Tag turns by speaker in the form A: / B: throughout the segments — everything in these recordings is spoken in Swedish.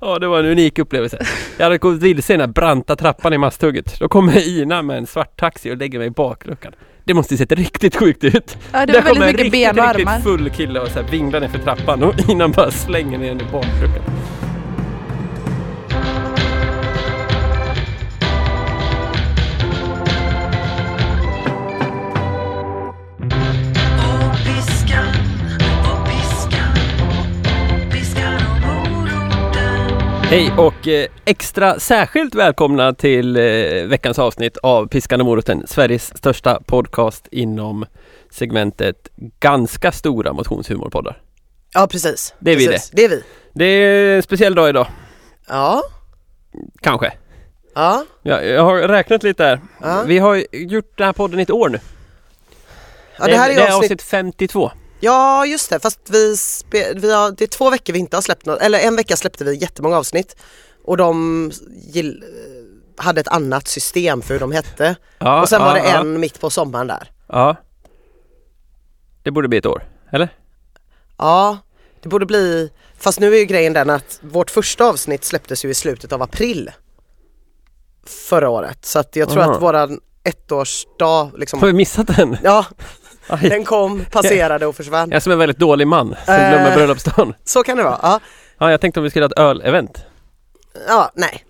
A: Ja, det var en unik upplevelse. Jag hade gått vilse i den här branta trappan i Masthugget. Då kommer Ina med en svart taxi och lägger mig i bakluckan. Det måste ju sett riktigt sjukt ut.
B: Ja, det
A: Där
B: var
A: kommer
B: väldigt
A: en
B: mycket
A: riktigt,
B: ben och
A: riktigt
B: armar.
A: full kille och så här vinglar ner för trappan och Ina bara slänger ner henne i bakluckan. Hej och eh, extra särskilt välkomna till eh, veckans avsnitt av Piskan och moroten, Sveriges största podcast inom segmentet ganska stora motionshumorpoddar.
C: Ja, precis.
A: Det är vi
C: precis. det. är vi.
A: Det är en speciell dag idag,
C: Ja,
A: kanske.
C: ja,
A: Jag, jag har räknat lite här.
C: ja.
A: Vi har ju gjort den här podden i ett år nu.
C: ja det här är ju
A: avsnitt...
C: avsnitt...
A: 52.
C: Ja, just det. Fast vi, spe... vi har... det är två veckor vi inte har släppt något. Eller en vecka släppte vi jättemånga avsnitt. Och de gill... hade ett annat system för hur de hette.
A: Ja,
C: och sen
A: ja,
C: var det
A: ja,
C: en mitt på sommaren där.
A: Ja. Det borde bli ett år, eller?
C: Ja, det borde bli... Fast nu är ju grejen den att vårt första avsnitt släpptes ju i slutet av april förra året. Så att jag tror
A: Aha.
C: att våran ettårsdag
A: Har
C: liksom...
A: vi missat den?
C: Ja,
A: Aj.
C: den kom, passerade och försvann.
A: Jag är som en väldigt dålig man som
C: Eh.
A: glömmer bröllopsdagen.
C: Så kan det vara. Ja,
A: Ja, jag tänkte om vi skulle ha ett öl-event.
C: ja nej.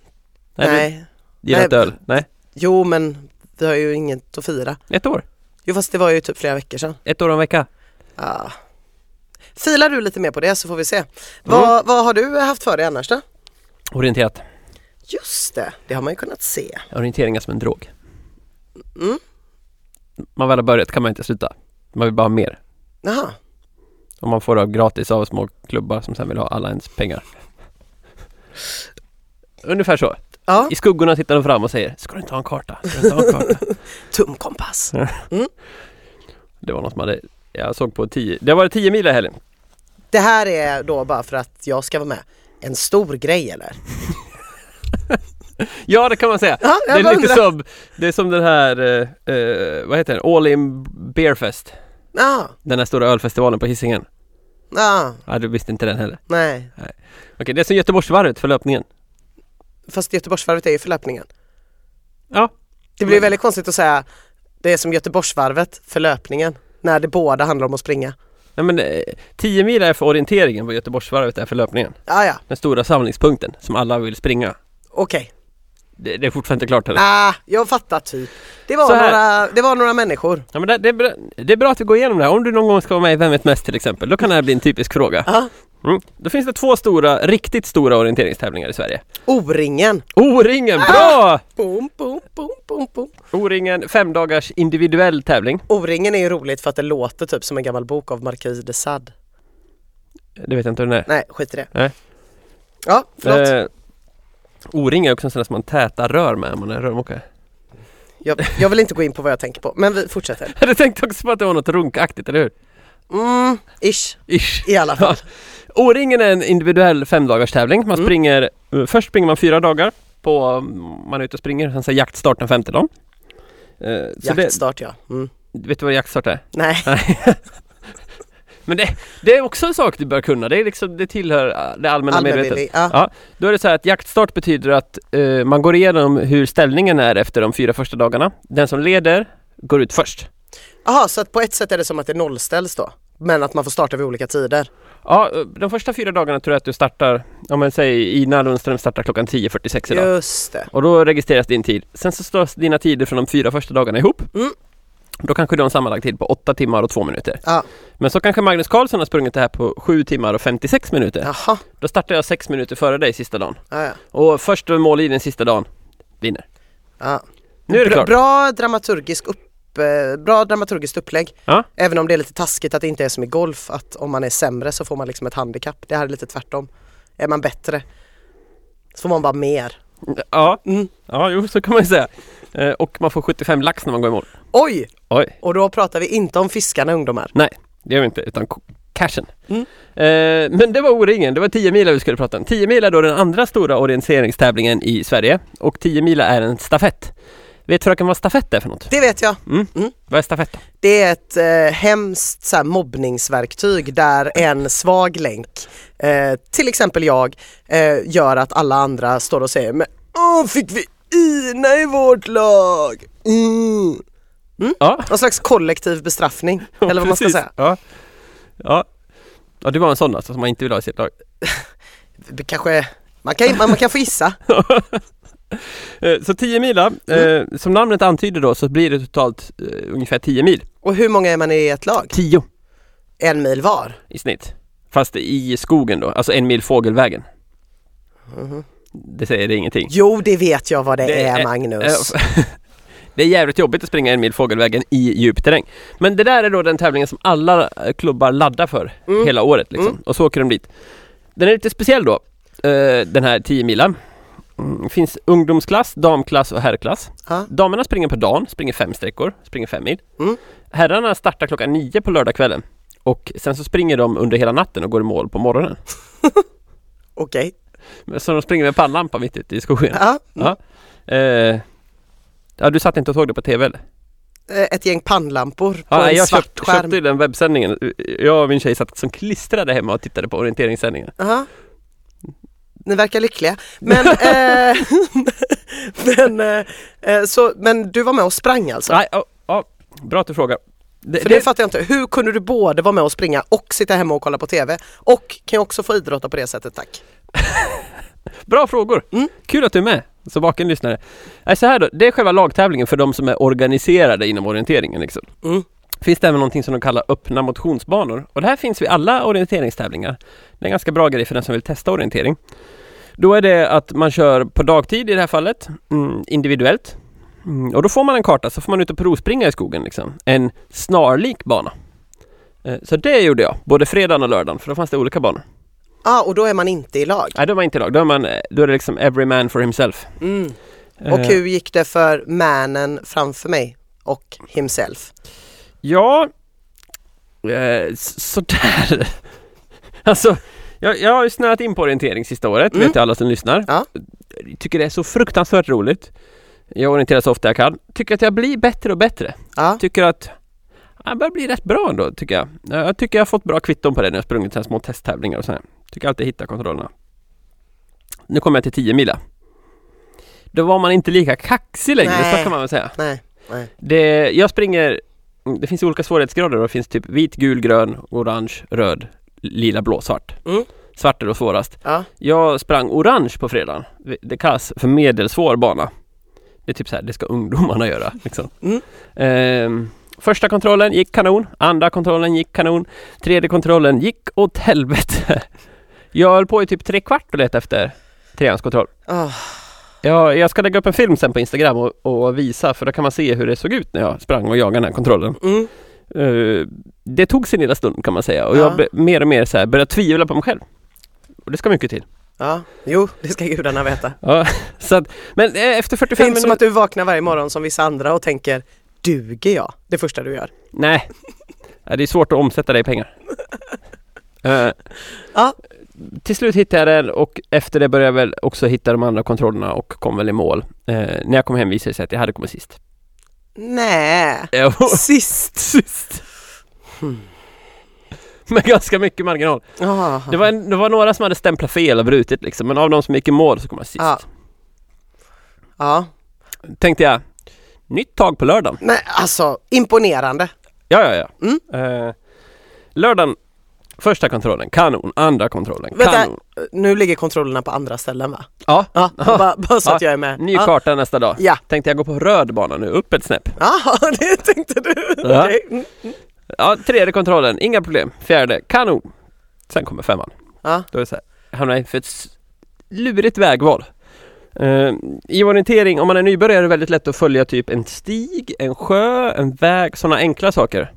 A: Nej.
C: Nej.
A: du Gillar
C: Nej.
A: inte öl? Nej.
C: Jo men vi har ju inget att fira.
A: Ett år.
C: Jo fast det var ju typ flera veckor sedan.
A: Ett år och en vecka.
C: Ja. Filar du lite mer på det så får vi se. Vad, vad har du haft för dig annars då?
A: Orienterat.
C: Just det, det har man ju kunnat se.
A: Orientering är som en drog.
C: Mm.
A: Man väl har börjat kan man inte sluta. Man vill bara ha mer.
C: Jaha,
A: Och man får det gratis av små klubbar som sen vill ha alla ens pengar. Ungefär så.
C: ja,
A: I skuggorna tittar de fram och säger Ska du inte ha en karta? Ska du inte ha en karta?
C: tumkompass.
A: Det var något man hade Jag såg på 10 Det var 10 mil i helgen
C: Det här är då bara för att jag ska vara med. En stor grej eller?
A: Ja det kan man säga
C: Ja,
A: Det
C: jag
A: är
C: bara
A: lite
C: undrar.
A: som Det är som den här eh, eh, Vad heter den? All in Beer Fest
C: Ja,
A: Den här stora ölfestivalen på Hisingen
C: ja,
A: Ja du visste inte den heller
C: nej.
A: Okej det är som Göteborgsvarvet för löpningen
C: Fast Göteborgsvarvet är ju förlöpningen.
A: Ja
C: Det blir väldigt konstigt att säga det är som Göteborgsvarvet för löpningen. När det båda handlar om att springa.
A: Nej men eh, 10 mil är för orienteringen vad Göteborgsvarvet är för löpningen
C: Ja, ja,
A: Den stora samlingspunkten som alla vill springa
C: okej.
A: Det, det är fortfarande inte klart heller
C: Ah, jag fattar typ. Det var,
A: Så här.
C: några, det var några människor.
A: Ja, men det, det, är bra, det är bra att vi går igenom det här. Om du någon gång ska vara med i Vem vet mest till exempel, då kan det här bli en typisk fråga.
C: Ja.
A: Mm. Då finns det två stora, riktigt stora orienteringstävlingar i Sverige.
C: O-ringen.
A: O-ringen,
C: Ah!
A: bra!
C: Boom, boom, boom, boom, boom.
A: O-ringen, fem dagars individuell tävling.
C: O-ringen är ju roligt för att det låter typ som en gammal bok av Marquis de Sade.
A: Det vet jag inte hur den är.
C: Nej, skit i det.
A: Nej.
C: Ja, förlåt.
A: Eh, O-ring är också en sån där som man tätar rör med om man är rörmokare.
C: Jag, jag vill inte gå in på vad jag tänker på, men vi fortsätter.
A: Jag hade tänkt också på att det var något runkaktigt, eller hur?
C: Mm, ish,
A: Ish.
C: i alla fall.
A: O-ringen är en individuell femdagars tävling. Man
C: Mm.
A: springer, eh, först springer man fyra dagar på, mm, man är ute och springer, sen så är jaktstart den femte dagen. Eh, så det,
C: Jaktstart ja. Mm.
A: Vet du vad jaktstart är?
C: Nej,
A: Nej. Men det, det är också en sak du bör kunna, det, är liksom, det tillhör ah, det allmänna medvetandet.
C: allmänbildning. Ja.
A: Då är det så här att jaktstart betyder att eh, man går igenom hur ställningen är efter de fyra första dagarna. Den som leder går ut först.
C: Jaha, så att på ett sätt är det som att det nollställs då. Men att man får starta vid olika tider.
A: Ja, eh, de första fyra dagarna tror jag att du startar, om man säger Ina Lundström startar klockan 10.46 idag.
C: Just det.
A: Och då registreras din tid. Sen så slås dina tider från de fyra första dagarna ihop.
C: Mm.
A: Då kanske du har en sammanlagd tid på 8 timmar och 2 minuter.
C: Ja.
A: Men så kanske Magnus Carlsson har sprungit det här på 7 timmar och 56 minuter.
C: Jaha,
A: Då startar jag sex minuter före dig sista dagen.
C: ja, ja.
A: Och först över mållinjen sista dagen vinner.
C: ja.
A: Nu är det
C: bra,
A: klart.
C: Bra, dramaturgisk upp, eh, bra dramaturgiskt upplägg.
A: Ja.
C: Även om det är lite taskigt att det inte är som i golf, att om man är sämre så får man liksom ett handikapp. Det här är lite tvärtom. Är man bättre så får man bara mer.
A: Ja,
C: Mm.
A: ja jo, så kan man ju säga. Eh, Och man får 75 lax när man går i mål.
C: Oj!
A: Oj,
C: Och då pratar vi inte om fiskarna ungdomar.
A: det gör vi inte, utan k- cashen.
C: Mm.
A: Eh, Men det var O-ringen, det var 10 mila vi skulle prata om. 10 mila är då den andra stora orienteringstävlingen i Sverige. Och 10 mila är en stafett. Vet fröken vad stafett är för något?
C: Det vet jag.
A: Mm.
C: Mm.
A: Vad är stafett då?
C: Det är ett eh, hemskt så här, mobbningsverktyg där en svag länk, eh, till exempel jag, eh, gör att alla andra står och säger men åh, fick vi Ina i vårt lag? Mm.
A: Ja,
C: Någon slags kollektiv bestraffning, eller vad man ska
A: precis.
C: säga.
A: Ja. Ja. ja, du var en sån alltså som man inte vill ha i sitt lag.
C: Det Kanske, man kan, man, man kan få gissa.
A: Eh, Så 10 mil, eh, som namnet antyder då så blir det totalt eh, ungefär 10 mil.
C: Och hur många är man i ett lag?
A: 10
C: En mil var?
A: i snitt. Fast i skogen då, alltså en mil fågelvägen. Det säger det ingenting.
C: Mm-hmm. Jo, det vet jag vad det,
A: Det
C: är,
A: är-
C: Magnus.
A: Det är jävligt jobbigt att springa en mil fågelvägen i djup terräng. Men det där är då den tävlingen som alla eh, klubbar laddar för hela året liksom. Och så åker de dit. Den är lite speciell då, eh, den här 10 milen. Mm, finns ungdomsklass, damklass och herrklass.
C: Ja.
A: Damerna springer på dagen, springer fem sträckor, springer fem mil.
C: Mm.
A: Herrarna startar klockan nio på lördagskvällen. Och sen så springer de under hela natten och går i mål på morgonen.
C: Okej.
A: Så de springer med pannlampa mitt ute i skogen.
C: Ja.
A: Ja. Eh, ja, du satt inte och såg det på TV eller?
C: Eh, Ett gäng pannlampor på
A: Ja,
C: en
A: jag
C: svart
A: köpt,
C: skärm.
A: köpte ju den webbsändningen. Jag och min tjej satt som klistrade hemma och tittade på orienteringssändningen.
C: Aha. Ni verkar lyckliga. Men, eh, men, eh, eh, så, men du var med och sprang alltså?
A: Nej, ja, ja, bra att du frågar. Det,
C: För det
A: det,
C: fattar jag inte. Hur kunde du både vara med och springa och sitta hemma och kolla på TV? Och kan jag också få idrotta på det sättet tack?
A: bra frågor!
C: Mm.
A: Kul att du är med som vaken lyssnare. Nej, så här då, det är själva lagtävlingen för de som är organiserade inom orienteringen. Liksom.
C: Mm.
A: Finns det även någonting som de kallar öppna motionsbanor och det här finns vid alla orienteringstävlingar. Det är en ganska bra grej för den som vill testa orientering. Då är det att man kör på dagtid i det här fallet, mm, individuellt. Mm, och då får man en karta, så får man ut och provspringa i skogen liksom. En snarlik bana. Eh, Så det gjorde jag, både fredagen och lördagen, för då fanns det olika banor.
C: Ja, och då är man inte i lag.
A: Nej, då är man inte i lag. Då är, man, eh, då är det liksom every man for himself.
C: Mm. Och
A: Eh,
C: hur gick det för mannen framför mig och himself?
A: Ja, eh, s- sådär. Alltså, jag, jag har ju snöat in på orientering sista året,
C: Mm.
A: vet ju alla som lyssnar.
C: Ja.
A: Jag tycker det är så fruktansvärt roligt. Jag orienterar så ofta jag kan. Tycker att jag blir bättre och bättre.
C: Ja.
A: Tycker att ja, jag börjar bli rätt bra ändå, tycker jag. Eh, Jag tycker jag har fått bra kvitton på det när jag sprungit så här små testtävlingar och så här. Tycker alltid hitta kontrollerna. Nu kommer jag till 10 mila. Då var man inte lika kaxig längre,
C: Nej.
A: så kan man väl säga.
C: Nej, nej.
A: Det, jag springer, det finns olika svårighetsgrader och det finns typ vit, gul, grön, orange, röd, lila, blå, svart.
C: Mm.
A: Svart är då svårast.
C: Ja.
A: Jag sprang orange på fredagen. Det kallas för medelsvår bana. Det är typ så här, det ska ungdomarna göra. Liksom.
C: Mm.
A: Ehm, första kontrollen gick kanon, andra kontrollen gick kanon, tredje kontrollen gick åt helvete. Jag höll på i typ tre kvart och letade efter treans kontroll.
C: Åh,
A: Ja, jag ska lägga upp en film sen på Instagram och, och visa för då kan man se hur det såg ut när jag sprang och jagade den här kontrollen.
C: Mm.
A: Eh, det tog sin lilla stund kan man säga och
C: Ja.
A: jag be- mer och mer så här började tvivla på mig själv. Och det ska mycket till.
C: Ja. Jo, det ska gudarna veta.
A: Ja, så att, men eh, efter
C: Det är
A: 45
C: inte
A: minuter...
C: som att du vaknar varje morgon som vissa andra och tänker Duger jag? Det första du gör.
A: Nej, Ja, det är svårt att omsätta det i pengar. Eh,
C: Ja.
A: Till slut hittade jag den och efter det började jag väl också hitta de andra kontrollerna och kom väl i mål. Eh, när jag kom hem visade det sig att jag hade kommit sist.
C: Nej.
A: Eh, och-
C: Sist.
A: sist. Med ganska mycket marginal.
C: Ja.
A: Det var, en, det var några som hade stämplat fel och brutit liksom, men av de som gick i mål så kom jag sist.
C: Ja. ja.
A: Tänkte jag, nytt tag på lördagen.
C: Men alltså imponerande.
A: Ja, ja, ja.
C: Mm.
A: Eh, lördagen, första kontrollen, kanon. Andra kontrollen,
C: Vänta.
A: kanon.
C: Nu ligger kontrollerna på andra ställen va?
A: Ja,
C: Ja, bara, bara så att jag är med.
A: ny
C: ja.
A: karta nästa dag.
C: Ja.
A: Tänkte jag gå på röd bana nu, upp ett snäpp.
C: ja, det tänkte du.
A: Ja.
C: Okej. Mm.
A: Ja, tredje kontrollen, inga problem. Fjärde, kanon. Sen kommer femman.
C: Ja.
A: Då är det så här, hamnar inför ett s- lurigt vägval. Eh, I orientering, om man är nybörjare är det väldigt lätt att följa typ en stig, en sjö, en väg, sådana enkla saker.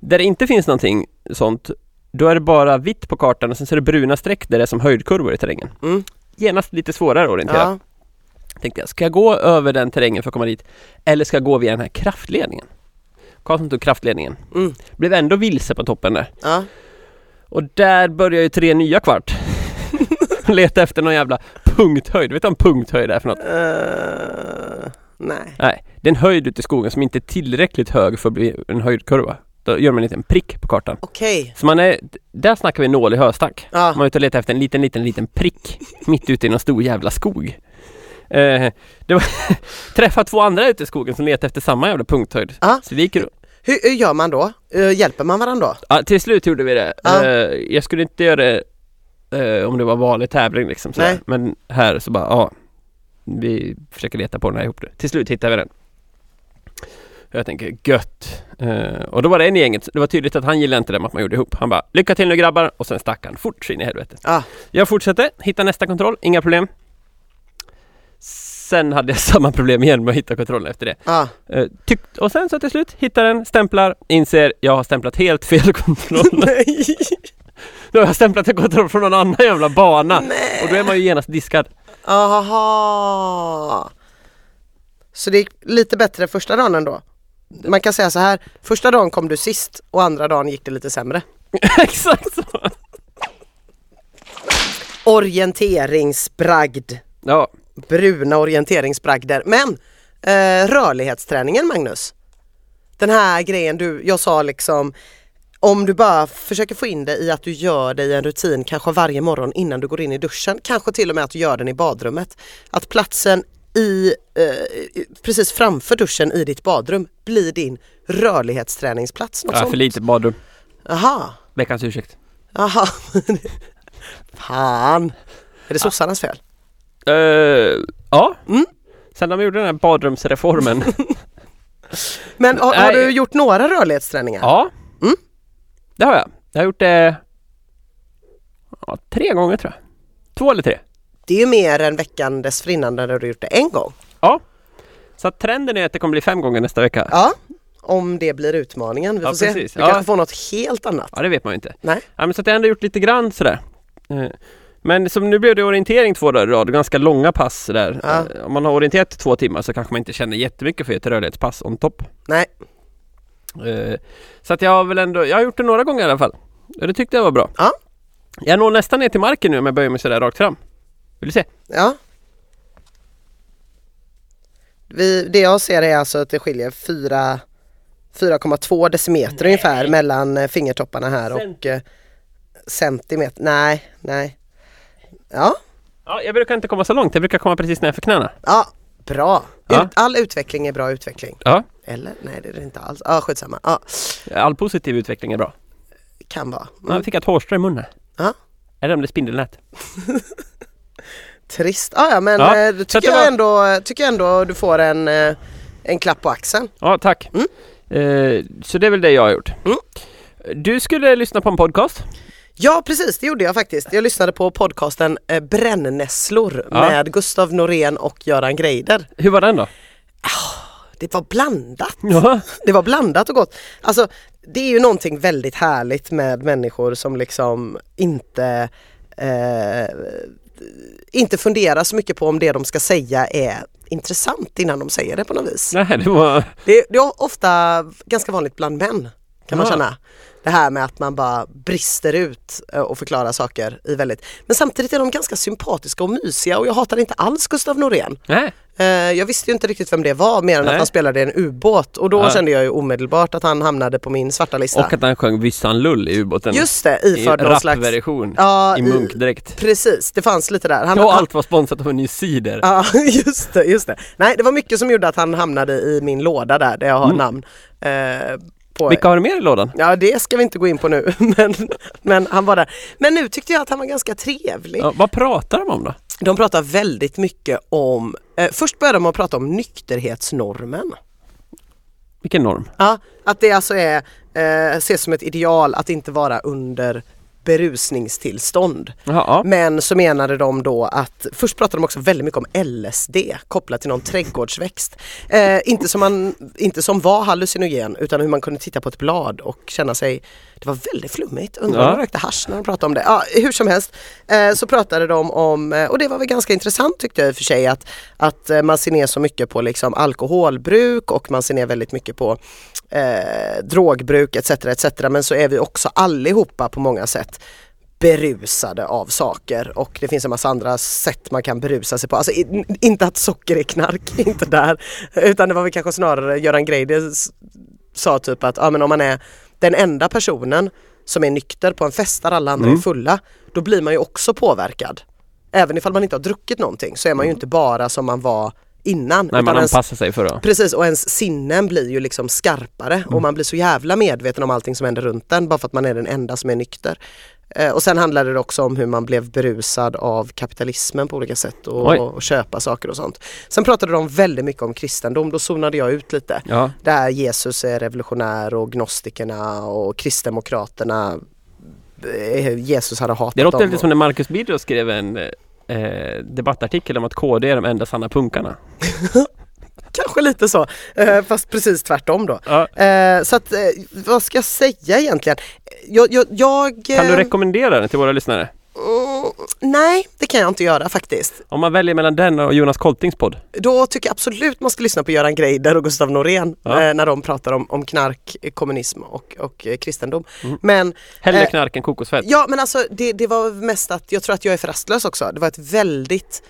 A: Där det inte finns någonting sånt, då är det bara vitt på kartan och sen så är det bruna streck där det är som höjdkurvor i terrängen.
C: Mm.
A: Genast lite svårare att orientera.
C: Ja.
A: Tänkte jag, ska jag gå över den terrängen för att komma dit? Eller ska jag gå via den här kraftledningen? Karlsson tog kraftledningen.
C: Mm.
A: Blev ändå vilse på toppen där.
C: Ja.
A: Och där börjar ju tre nya kvart Leta efter någon jävla punkthöjd, vet du vad en punkthöjd är för något?
C: Eh, Nej.
A: Nej, det är en höjd ute i skogen som inte är tillräckligt hög för att bli en höjdkurva. Då gör man en liten prick på kartan.
C: Okej.
A: Så man är, där snackar vi nål i höstack.
C: Ja.
A: Man är ute och letar efter en liten, liten, liten prick mitt ute i någon stor jävla skog. Eh, det var träffa två andra ute i skogen som letade efter samma jävla punkthöjd.
C: Ja.
A: Så vi gick runt.
C: Hur, hur gör man då? Eh, hjälper man varandra då?
A: Ja, till slut gjorde vi det.
C: Ja.
A: Eh, jag skulle inte göra det eh, om det var vanlig tävling liksom. sådär.
C: Nej.
A: Men här så bara, ja. Vi försöker leta på den här ihop nu. Till slut hittar vi den. Jag tänker gött. Eh, och då var det en i gänget, det var tydligt att han gillade inte det med att man gjorde ihop. Han bara, lycka till nu grabbar! Och sen stack han fort så in i helvete.
C: Ja.
A: Jag fortsatte, hitta nästa kontroll, inga problem. Sen hade jag samma problem igen med att hitta kontrollen efter det.
C: Ja.
A: Eh, tyck- och sen så till slut hittar den, stämplar, inser jag har stämplat helt fel kontroll.
C: Nej.
A: Då har jag stämplat en kontroll från någon annan jävla bana.
C: Nej.
A: Och då är man ju genast diskad.
C: Aha. Så det gick lite bättre första dagen ändå? Man kan säga så här, första dagen kom du sist och andra dagen gick det lite sämre.
A: Exakt så.
C: Orienteringsbragd.
A: Ja,
C: bruna orienteringsbragder. Men eh, rörlighetsträningen Magnus, den här grejen du, jag sa liksom om du bara försöker få in det i att du gör det i en rutin kanske varje morgon innan du går in i duschen, kanske till och med att du gör den i badrummet. Att platsen i, eh, i- precis framför duschen i ditt badrum blir din rörlighetsträningsplats. Något
A: ja
C: sånt.
A: för lite badrum.
C: Aha,
A: Veckans ursäkt.
C: aha. Fan, är det sossarnas fel?
A: Eh, ja.
C: Mm.
A: Sen när vi gjorde den här badrumsreformen.
C: Men har, har
A: Nej.
C: du gjort några rörlighetsträningar?
A: ja.
C: Mm.
A: Det har jag. Jag har gjort det ja, tre gånger tror jag. Två eller tre.
C: Det är ju mer än veckan dessförinnan när du har gjort det en gång.
A: Ja. Så att trenden är att det kommer bli fem gånger nästa vecka.
C: Ja, om det blir utmaningen. Vi får
A: Ja,
C: se.
A: precis.
C: Vi
A: Ja.
C: kanske får något helt annat.
A: Ja, det vet man ju inte.
C: Nej.
A: Ja, men så att jag ändå gjort lite grann sådär. Eh, Men som nu blev det orientering två dagar i rad, ganska långa pass sådär.
C: Ja.
A: Eh, Om man har orienterat i två timmar så kanske man inte känner jättemycket för ett rörlighetspass on top.
C: Nej.
A: Eh, Så att jag har väl ändå, jag har gjort det några gånger i alla fall. Och det tyckte jag var bra.
C: Ja.
A: Jag når nästan ner till marken nu om jag böjer mig sådär rakt fram. Vill du se?
C: Ja. Vi, det jag ser är alltså att det skiljer fyra- 4,2 decimeter ungefär mellan eh, fingertopparna här och eh, centimeter. Nej, nej. Ja,
A: Ja, jag brukar inte komma så långt, jag brukar komma precis nedanför knäna.
C: ja bra.
A: Ja.
C: Ut, all utveckling är bra utveckling.
A: Ja.
C: Eller? Nej det är det inte alls. Ja, skitsamma. Ja,
A: All positiv utveckling är bra.
C: kan vara.
A: Man fick ett hårstrå i munnen.
C: Mm. Ja.
A: Eller om det är spindelnät.
C: Trist. Ah, ja men
A: Ja,
C: eh,
A: så att det
C: tycker, jag
A: var-
C: ändå, tycker jag ändå du får en, eh, en klapp på axeln.
A: Ja, tack.
C: Mm.
A: Eh, så det är väl det jag har gjort. Du skulle lyssna på en podcast.
C: Ja precis, det gjorde jag faktiskt. Jag lyssnade på podcasten eh, Brännässlor
A: Ja.
C: med Gustav Norén och Göran Greider.
A: Hur var den då?
C: Det var blandat.
A: Ja.
C: Det var blandat och gott. Alltså det är ju någonting väldigt härligt med människor som liksom inte eh, inte funderar så mycket på om det de ska säga är intressant innan de säger det på något vis.
A: Nej, det var...
C: Det, det är ofta ganska vanligt bland män kan man
A: Ja.
C: känna. Det här med att man bara brister ut eh, och förklarar saker i väldigt Men samtidigt är de ganska sympatiska och mysiga och jag hatar inte alls Gustav Norén.
A: Nej.
C: Eh, Jag visste ju inte riktigt vem det var mer än
A: Nej.
C: att han spelade i en ubåt och då
A: Ja.
C: kände jag ju omedelbart att han hamnade på min svarta lista.
A: Och att han sjöng Vissan Lull i ubåten.
C: Just det,
A: I
C: iförd någon slags...
A: rapversion.
C: Ja,
A: I
C: i-
A: munkdräkt.
C: Precis, det fanns lite där. Han,
A: Och
C: han,
A: allt var sponsrat av en ny cider.
C: Ja, just det, just det. Nej, det var mycket som gjorde att han hamnade i min låda där, där jag
A: Mm.
C: har namn. Eh, på,
A: Vilka har du mer i lådan?
C: Ja det ska vi inte gå in på nu men, men han var där. Men nu tyckte jag att han var ganska trevlig.
A: Ja, vad pratar de om då?
C: De pratar väldigt mycket om, eh, först började de att prata om nykterhetsnormen.
A: Vilken norm?
C: Ja, att det alltså är, eh, ses som ett ideal att inte vara under berusningstillstånd.
A: Jaha, ja.
C: Men så menade de då att, först pratade de också väldigt mycket om LSD kopplat till någon trädgårdsväxt. Eh, inte, som man, inte som var hallucinogen utan hur man kunde titta på ett blad och känna sig, det var väldigt flummigt, undrar om
A: Ja.
C: de rökte hasch när de pratade om det. Ja, hur som helst eh, så pratade de om, eh, och det var väl ganska intressant tyckte jag i och för sig, att, att eh, man ser ner så mycket på liksom alkoholbruk och man ser ner väldigt mycket på eh, drogbruk etc. etc. Men så är vi också allihopa på många sätt berusade av saker och det finns en massa andra sätt man kan berusa sig på. Alltså i- inte att socker är knark, inte där. Utan det var väl kanske snarare Göran Greider s- sa typ att ja, men om man är den enda personen som är nykter på en fest där alla andra
A: Mm.
C: är fulla, då blir man ju också påverkad. Även ifall man inte har druckit någonting så är man ju inte bara som man var innan.
A: Mm. Nej, man
C: utan ens-
A: anpassar sig för att
C: Precis och ens sinnen blir ju liksom skarpare
A: Mm.
C: och man blir så jävla medveten om allting som händer runt en bara för att man är den enda som är nykter. Eh, och sen handlade det också om hur man blev berusad av kapitalismen på olika sätt och,
A: Oj.
C: och köpa saker och sånt. Sen pratade de väldigt mycket om kristendom, då zonade jag ut lite.
A: Ja,
C: Där Jesus är revolutionär och gnostikerna och kristdemokraterna eh, Jesus hade hatat
A: det låter
C: dem.
A: lite som när Marcus Birro skrev en eh, debattartikel om att KD är de enda sanna punkarna.
C: Kanske lite så, eh, fast precis tvärtom då.
A: Ja.
C: Eh, så att, eh, vad ska jag säga egentligen? Jag, jag, jag
A: Kan du
C: eh,
A: rekommendera den till våra lyssnare?
C: mm, Nej, det kan jag inte göra faktiskt.
A: Om man väljer mellan den och Jonas Koltings podd?
C: Då tycker jag absolut man ska lyssna på Göran Greider och Gustav Norén
A: Ja.
C: eh, när de pratar om, om knark, eh, kommunism och, och eh, kristendom. Men
A: Mm. Hellre
C: Eh,
A: knark än kokosfett?
C: Ja men alltså det, det var mest att jag tror att jag är för rastlös också. Det var ett väldigt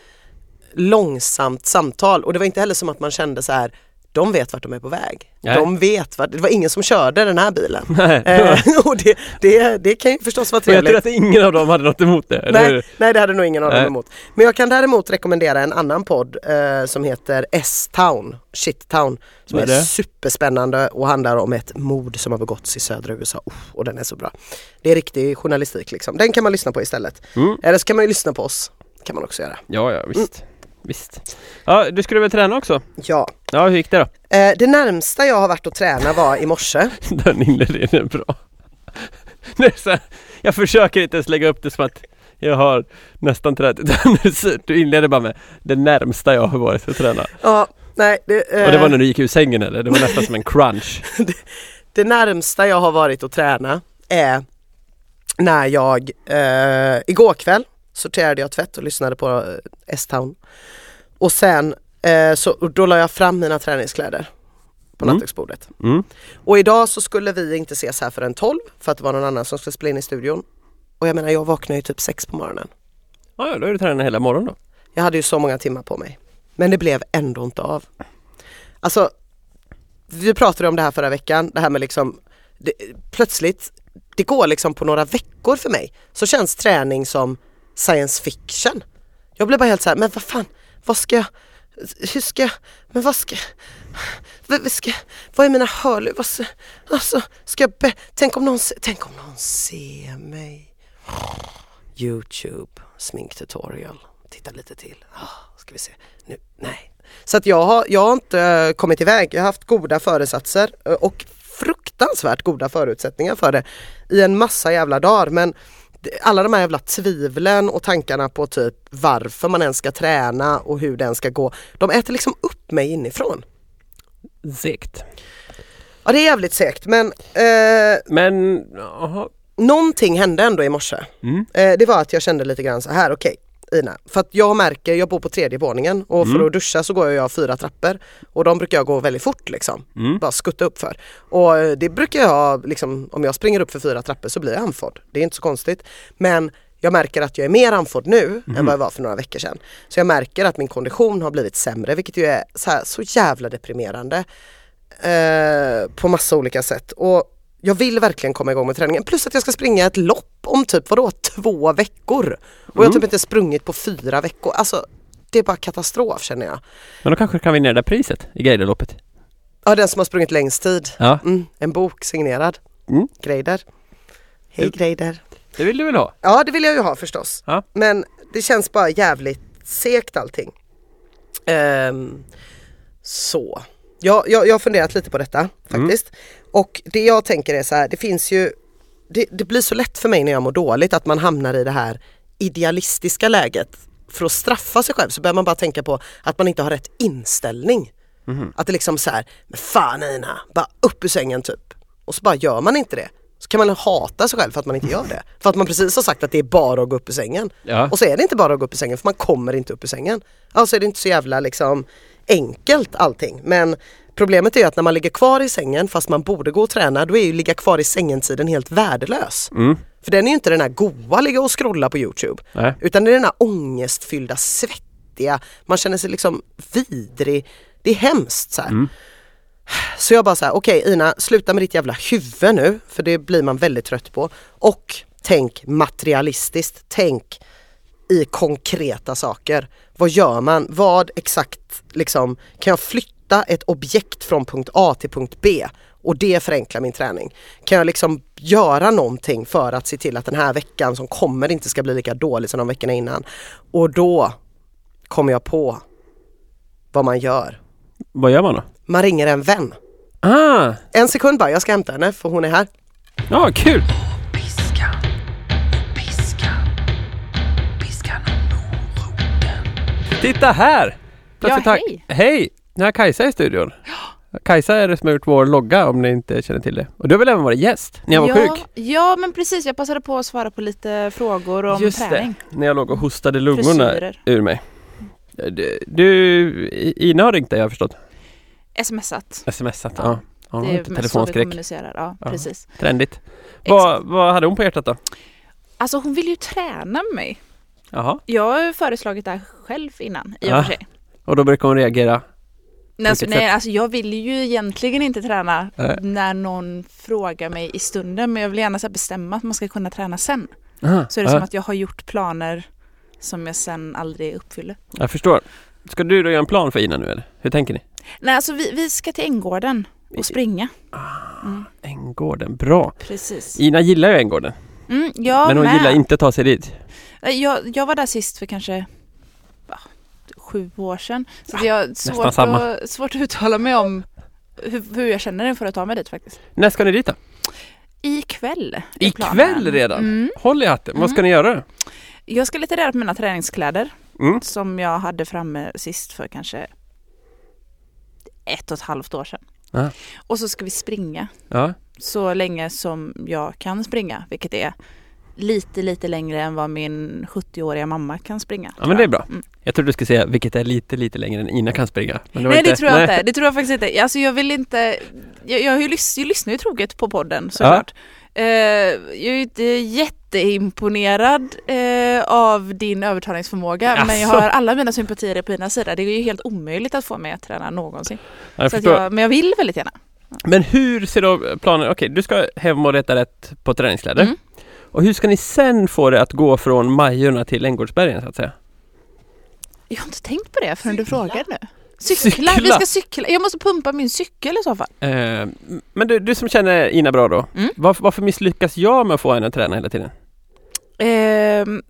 C: långsamt samtal och det var inte heller som att man kände så här de vet vart de är på väg.
A: Nej.
C: De vet vart, det var ingen som körde den här bilen.
A: Nej.
C: Eh, och det, det, det kan ju förstås vara
A: Och jag tror
C: trevligt.
A: att ingen av dem hade något emot det, eller hur?
C: Nej, nej det hade nog ingen av dem
A: Nej.
C: emot. Men jag kan däremot rekommendera en annan podd eh, som heter S-Town, Shit-Town. Som är,
A: Vad är det?
C: superspännande och handlar om ett mord som har begåtts i södra USA. Oh, och den är så bra. Det är riktig journalistik liksom. Den kan man lyssna på istället.
A: Mm.
C: Eller så kan man ju lyssna på oss. kan man också göra.
A: Ja, ja, visst.
C: Mm.
A: Visst. Ja, du skulle väl träna också?
C: Ja.
A: Ja, hur gick det då?
C: Eh, det närmsta jag har varit att träna var i morse.
A: Den inledningen är bra. Det är så här, jag försöker inte ens lägga upp det som att jag har nästan tränat. Utan Du inleder bara med det närmsta jag har varit att träna.
C: Ja, nej. Det, eh,
A: Och det var när du gick ur sängen eller? Det var nästan som en crunch.
C: det närmsta jag har varit att träna är när jag eh, igår kväll sorterade jag tvätt och lyssnade på eh, S-Town. Och sen eh, så och då la jag fram mina träningskläder på
A: Mm.
C: nattduksbordet.
A: Mm.
C: Och idag så skulle vi inte ses här förrän 12 för att det var någon annan som skulle spela in i studion. Och jag menar jag vaknade ju typ 6 på morgonen.
A: Ja, ja, då är du tränat hela morgonen då.
C: Jag hade ju så många timmar på mig. Men det blev ändå inte av. Alltså, vi pratade om det här förra veckan, det här med liksom det, plötsligt, det går liksom på några veckor för mig, så känns träning som science fiction. Jag blir bara helt så här, men vad fan, vad ska jag, hur ska jag, men vad ska, vad, vad ska vad är mina hörlurar, vad ska, alltså, ska jag, be, tänk om någon, se- tänk om någon ser mig. Youtube, sminktutorial, titta lite till. Ah, ska vi se. Nu, nej. Så att jag har, jag har inte eh, kommit iväg. Jag har haft goda föresatser eh, och fruktansvärt goda förutsättningar för det i en massa jävla dagar. Men det- alla de här jävla tvivlen och tankarna på typ varför man ens ska träna och hur den ska gå. De äter liksom upp mig inifrån.
A: Segt.
C: Ja det är jävligt segt men eh,
A: Men, jaha.
C: någonting hände ändå i morse.
A: Mm.
C: Eh, det var att jag kände lite grann så här, okej Ina, för att jag märker, jag bor på tredje våningen och
A: Mm.
C: för att duscha så går jag fyra trappor och de brukar jag gå väldigt fort liksom,
A: Mm.
C: bara skutta upp för. Och eh, det brukar jag, liksom, om jag springer upp för fyra trappor så blir jag andfådd, det är inte så konstigt. Men jag märker att jag är mer andfådd nu
A: Mm.
C: än vad jag var för några veckor sedan. Så jag märker att min kondition har blivit sämre vilket ju är så, här, så jävla deprimerande eh, på massa olika sätt. Och jag vill verkligen komma igång med träningen. Plus att jag ska springa ett lopp om typ vadå, två veckor. Och
A: Mm.
C: jag har typ inte sprungit på fyra veckor. Alltså det är bara katastrof känner jag.
A: Men då kanske du kan vinna det där priset i Greiderloppet.
C: Ja den som har sprungit längst tid.
A: Ja,
C: Mm, en bok signerad.
A: Mm.
C: Greider. Hej
A: Mm.
C: Greider.
A: det vill du väl ha?
C: Ja det vill jag ju ha förstås.
A: Ja.
C: Men det känns bara jävligt segt allting. Ehm, så. Jag, jag, jag har funderat lite på detta faktiskt. Och det jag tänker är så här, det finns ju det, det blir så lätt för mig när jag mår dåligt att man hamnar i det här idealistiska läget. För att straffa sig själv så börjar man bara tänka på att man inte har rätt inställning. Att det liksom så här, men fan Ina, bara upp ur sängen typ. Och så bara gör man inte det. Så kan man hata sig själv för att man inte gör det. För att man precis har sagt att det är bara att gå upp ur sängen.
A: Ja.
C: Och så är det inte bara att gå upp ur sängen för man kommer inte upp ur sängen. Alltså är det inte så jävla liksom enkelt allting. Men problemet är ju att när man ligger kvar i sängen fast man borde gå och träna då är ju ligga kvar i sängen-tiden helt värdelös. För den är ju inte den här goa ligga och scrolla på Youtube.
A: Nej.
C: Utan det är den här ångestfyllda, svettiga, man känner sig liksom vidrig. Det är hemskt så här. Så jag bara så här, okej Ina, sluta med ditt jävla huvud nu, för det blir man väldigt trött på. Och tänk materialistiskt, tänk i konkreta saker. Vad gör man? Vad exakt liksom, kan jag flytta ett objekt från punkt A till punkt B? Och det förenklar min träning. Kan jag liksom göra någonting för att se till att den här veckan som kommer inte ska bli lika dålig som de veckorna innan? Och då kom jag på vad man gör.
A: Vad gör man då?
C: Man ringer en vän.
A: Ah,
C: En sekund bara, jag ska hämta henne för hon är här.
A: ja kul!
B: Piskan, piskan, piskan och moroten.
A: Titta här! Plötsligt
D: Ja,
A: har-
D: hej.
A: Hej! Nu har Kajsa i studion. Kajsa är det som har gjort vår logga om ni inte känner till det. Och du har väl även varit gäst när jag var
D: ja,
A: sjuk?
D: Ja, men precis. Jag passade på att svara på lite frågor om
A: Just
D: träning.
A: det, när jag låg och hostade lungorna
D: Frisyrer.
A: ur mig. Du, du, I- Ina har ringt dig har jag förstått.
D: Smsat.
A: Smsat, ja.
D: Ja,
A: ja.
D: det
A: lite
D: är mest så vi
A: telefonskräck,
D: kommunicerar. Ja,
A: Ja.
D: precis.
A: trendigt.
D: Exakt.
A: Vad, vad hade hon på hjärtat då?
D: Alltså hon vill ju träna mig.
A: Jaha,
D: Jag har ju föreslagit det här själv innan i och
A: Ja.
D: för sig.
A: och då brukar hon reagera.
D: Nej, alltså,
A: Ah, vilket
D: nej, alltså jag vill ju egentligen inte träna
A: Nej.
D: när någon frågar mig i stunden men jag vill gärna så här bestämma att man ska kunna träna sen.
A: Aha,
D: Så är det
A: ja,
D: som att jag har gjort planer som jag sen aldrig uppfyller.
A: Jag förstår. Ska du då göra en plan för Ina nu eller? Hur tänker ni?
D: Nej, alltså vi, vi ska till Änggården och springa.
A: Änggården, bra.
D: Precis.
A: Ina gillar ju Änggården,
D: Mm, jag
A: men hon
D: med.
A: gillar inte att ta sig dit.
D: Nej, Eh, Jag, jag var där sist för kanske va, sju år sedan. Så det är svårt,
A: samma.
D: att, svårt att uttala mig om hur, hur jag känner inför att ta mig dit faktiskt.
A: När ska ni dit då?
D: Ikväll. är planen.
A: Ikväll redan?
D: Mm.
A: Håll i hatten, vad ska ni göra?
D: Jag ska leta reda på mina träningskläder
A: Mm.
D: som jag hade framme sist för kanske ett och ett halvt år sedan.
A: Ja.
D: Och så ska vi springa
A: Ja,
D: så länge som jag kan springa, vilket är lite, lite längre än vad min 70-åriga mamma kan springa.
A: ja men det är bra.
D: Mm.
A: Jag trodde du skulle säga, vilket är lite, lite längre än Ina kan springa. Men var
D: nej det tror jag inte, det tror jag faktiskt inte. Alltså jag vill inte, jag, jag, har ju lys, jag lyssnar ju troget på podden såklart. Eh, jag är ju inte jätteimponerad eh, av din övertalningsförmåga men jag
A: Asså.
D: har alla mina sympatier är på dina sida. Det är ju helt omöjligt att få mig att träna någonsin.
A: Jag
D: så att
A: förstår.
D: jag, men jag vill väldigt gärna.
A: Men hur ser då planen, okej du ska hem och reta rätt på träningskläder.
D: Mm.
A: Och hur ska ni sen få det att gå från Majorna till Änggårdsbergen så att säga?
D: Jag har inte tänkt på det förrän du frågar nu.
A: Cykla.
D: Cykla. Vi ska cykla. Jag måste pumpa min cykel i så fall.
A: Eh, men du, du som känner Ina bra då,
D: Mm.
A: varför, varför misslyckas jag med att få henne att träna hela tiden?
D: Ehm,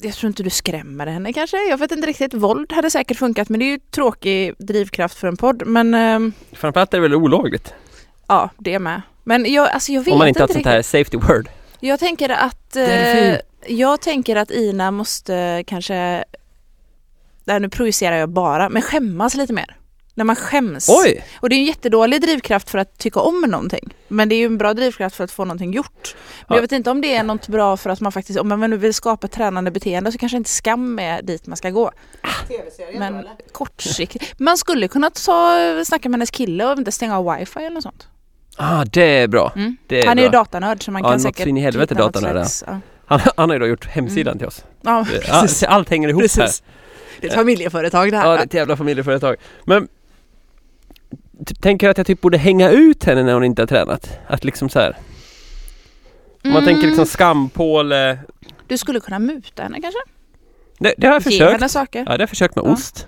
D: jag tror inte du skrämmer henne kanske. Jag vet inte riktigt. Våld hade säkert funkat men det är ju tråkig drivkraft för en podd. Men ehm,
A: Framförallt är det väl olagligt?
D: ja, det med. Men jag, alltså jag vet
A: Om man inte har ett
D: riktigt.
A: sånt här safety word.
D: Jag tänker att eh,
A: Delfin.
D: jag tänker att Ina måste kanske där nu projicerar jag bara, men skämmas lite mer. När man skäms.
A: Oj!
D: Och det är en jättedålig drivkraft för att tycka om någonting. Men det är ju en bra drivkraft för att få någonting gjort. Men
A: Ja.
D: jag vet inte om det är något bra för att man faktiskt, om man nu vill skapa ett tränande beteende så kanske inte skam är dit man ska gå. Ah. Men kortsiktigt. Man skulle kunna ta, snacka med hennes kille och inte stänga av wifi eller något sånt.
A: Ah, det är bra.
D: Mm.
A: Det är
D: Han är
A: bra.
D: ju datanörd så man
A: Ja,
D: kan
A: något
D: säkert
A: så in i helvete
D: hitta något
A: datanörd,
D: slags- Ja.
A: Han, han har ju då gjort hemsidan till oss.
D: Ja,
A: Eh, all-
D: Mm. precis.
A: Allt hänger ihop här.
D: precis. Det är ett familjeföretag det här.
A: Ja, det är ett jävla familjeföretag. Men t- tänker jag att jag typ borde hänga ut henne när hon inte har tränat? Att liksom så här. Om man
D: Mm.
A: tänker liksom skampåle.
D: Du skulle kunna muta henne kanske?
A: Det, det har jag
D: Ge
A: försökt.
D: henne saker.
A: Ja, det har jag försökt med
D: Ja.
A: ost.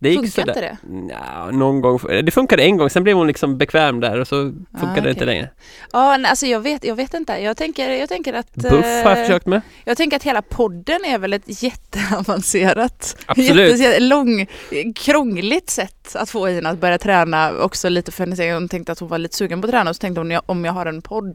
A: Det gick
D: Funkar
A: sådär.
D: inte det?
A: Nja, någon gång. Det funkade en gång, sen blev hon liksom bekväm där och så funkade
D: Ah,
A: det inte
D: okej.
A: längre.
D: Ja, nej, alltså jag vet, jag vet inte. Jag tänker, jag tänker att...
A: Buff har jag
D: eh,
A: försökt med.
D: Jag tänker att hela podden är väl ett jätteavancerat,
A: Absolut.
D: jätte- lång, krångligt sätt att få Ina att börja träna också lite för hennes egen. Hon tänkte att hon var lite sugen på att träna och så tänkte hon "Ja, om jag har en podd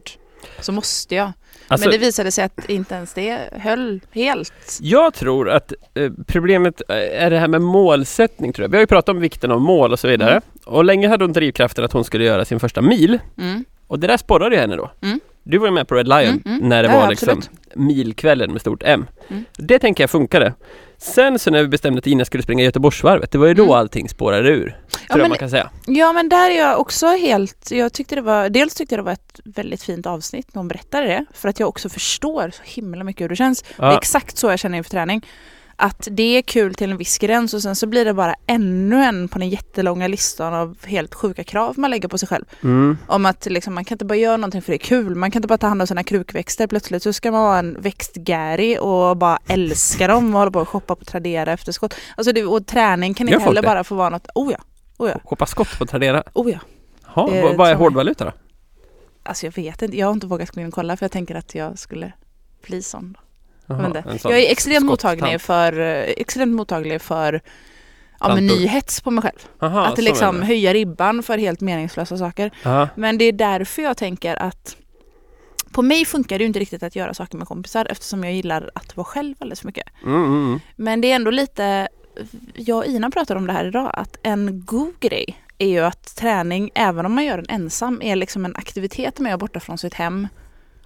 D: så måste jag.
A: Alltså,
D: Men det visade sig att inte ens det höll helt.
A: Jag tror att eh, problemet eh, är det här med målsättning tror jag. Vi har ju pratat om vikten av mål och så vidare.
D: Mm.
A: Och länge hade hon drivkraften att hon skulle göra sin första mil.
D: Mm.
A: Och det där sporrade ju henne då.
D: Mm.
A: Du var ju med på Red Lion
D: Mm, mm.
A: när det
D: Ja,
A: var
D: ja,
A: liksom milkvällen med stort M.
D: Mm.
A: Det tänker jag funkade. Sen så när vi bestämde att Ina skulle springa Göteborgsvarvet, det var ju då
D: Mm.
A: allting spårade ur.
D: Ja,
A: tror jag
D: men-
A: man kan säga.
D: Ja men där är jag också helt, jag tyckte det var, dels tyckte jag det var ett väldigt fint avsnitt när hon berättade det, för att jag också förstår så himla mycket hur det känns. Det är
A: Ja,
D: exakt så jag känner inför träning. Att det är kul till en viss gräns och sen så blir det bara ännu en på den jättelånga listan av helt sjuka krav man lägger på sig själv.
A: mm.
D: Om att liksom, man kan inte bara göra någonting för det är kul, man kan inte bara ta hand om sina krukväxter plötsligt så ska man vara en växtgäri och bara älska dem och hålla på och shoppa på Tradera efter skott. Alltså det, och träning kan
A: Gör
D: inte
A: folk
D: heller
A: det?
D: bara få vara något, oh ja, oh ja,
A: Hoppa skott på Tradera.
D: oh ja.
A: Jaha,
D: Det
A: vad-
D: tror
A: vad är
D: jag.
A: hårdvaluta då?
D: Alltså jag vet inte, jag har inte vågat gå in och kolla för jag tänker att jag skulle bli sån.
A: Jaha,
D: Men det-
A: en sån
D: Jag är extremt
A: skottant.
D: mottaglig för, eh, extremt mottaglig för ja, men
A: Tantor.
D: nyhets på mig själv.
A: Aha,
D: att det
A: så är
D: liksom
A: det.
D: höja ribban för helt meningslösa saker.
A: Ja.
D: Men det är därför jag tänker att på mig funkar det ju inte riktigt att göra saker med kompisar eftersom jag gillar att vara själv alldeles för mycket.
A: Mm, mm, mm.
D: Men det är ändå lite, jag och Ina pratade om det här idag, att en god grej är ju att träning, även om man gör den ensam, är liksom en aktivitet man gör borta från sitt hem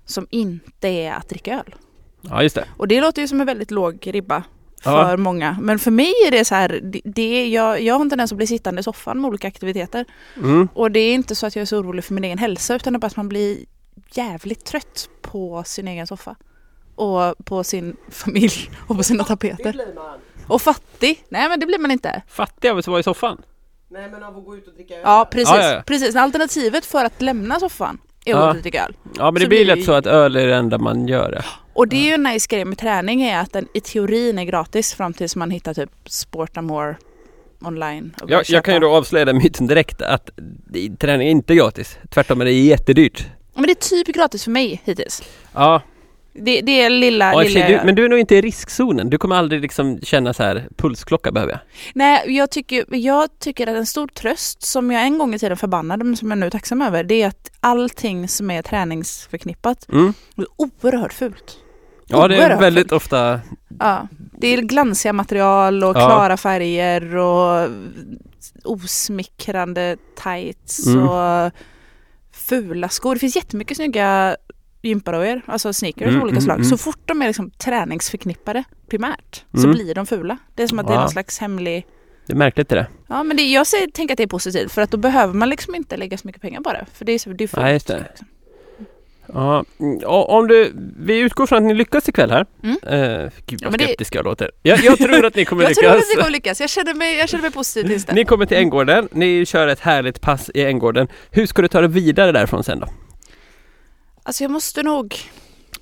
D: som inte är att dricka öl.
A: ja, just det.
D: Och det låter ju som en väldigt låg ribba
A: Ja.
D: för många. Men för mig är det så här, det, det, jag, jag har en tendens att bli sittande i soffan med olika aktiviteter.
A: Mm.
D: Och det är inte så att jag är så orolig för min egen hälsa utan det är bara att man blir jävligt trött på sin egen soffa. Och på sin familj och på sina tapeter.
C: blir man.
D: Och fattig? Nej men det blir man inte.
A: Fattig av att vara i soffan.
C: Nej men av att gå ut och dricka öl.
D: Ja precis.
A: Ja, ja, ja.
D: precis. Alternativet för att lämna soffan är
A: Ja.
D: att ja. dricka öl.
A: Ja, men det blir
D: Så blir det
A: lätt
D: ju-
A: så att öl är det enda man gör. det.
D: Och det är ju en nice grej med träning är att den i teorin är gratis fram tills man hittar typ Sportamore online. och börjar
A: Jag, jag kan ju
D: köpa.
A: då avslöja den myten direkt att det- träning är inte gratis. Tvärtom är det jättedyrt.
D: Men det är typ gratis för mig hittills.
A: Ja,
D: Det, det är lilla,
A: och i och för
D: lilla
A: sig,
D: jag
A: du,
D: gör.
A: men du är nog inte i riskzonen. Du kommer aldrig liksom känna så här, pulsklocka behöver jag.
D: Nej, jag tycker, jag tycker att en stor tröst som jag en gång i tiden förbannade men som jag nu är tacksam över det är att allting som är träningsförknippat
A: Mm.
D: är oerhört fult.
A: Ja, det är
D: Oerhört
A: väldigt ofta
D: Ja, det är glansiga material och
A: Ja.
D: klara färger och osmickrande tights
A: Mm.
D: och fula skor. Det finns jättemycket snygga gympadojor, alltså sneakers
A: Mm,
D: av olika
A: mm,
D: slag.
A: mm.
D: Så fort de är liksom träningsförknippade primärt så
A: Mm.
D: blir de fula. Det är som att det är
A: Ja.
D: någon slags hemlig...
A: det är märkligt det där.
D: Ja men det, jag säger, tänker att det är positivt för att då behöver man liksom inte lägga så mycket pengar på det. För det är, så- det är fult.
A: Nej, just det.
D: liksom.
A: Ja, mm, och om du, vi utgår från att ni lyckas ikväll här.
D: Mm.
A: Eh, gud
D: Ja,
A: vad
D: men det-
A: skeptisk jag låter. Jag, jag tror att ni kommer
D: Jag
A: lyckas.
D: tror att det kommer lyckas. Jag känner mig, jag känner mig positivt inställd.
A: Ni kommer till Änggården, ni kör ett härligt pass i Änggården. Hur ska du ta dig vidare därifrån sen då?
D: Alltså jag måste nog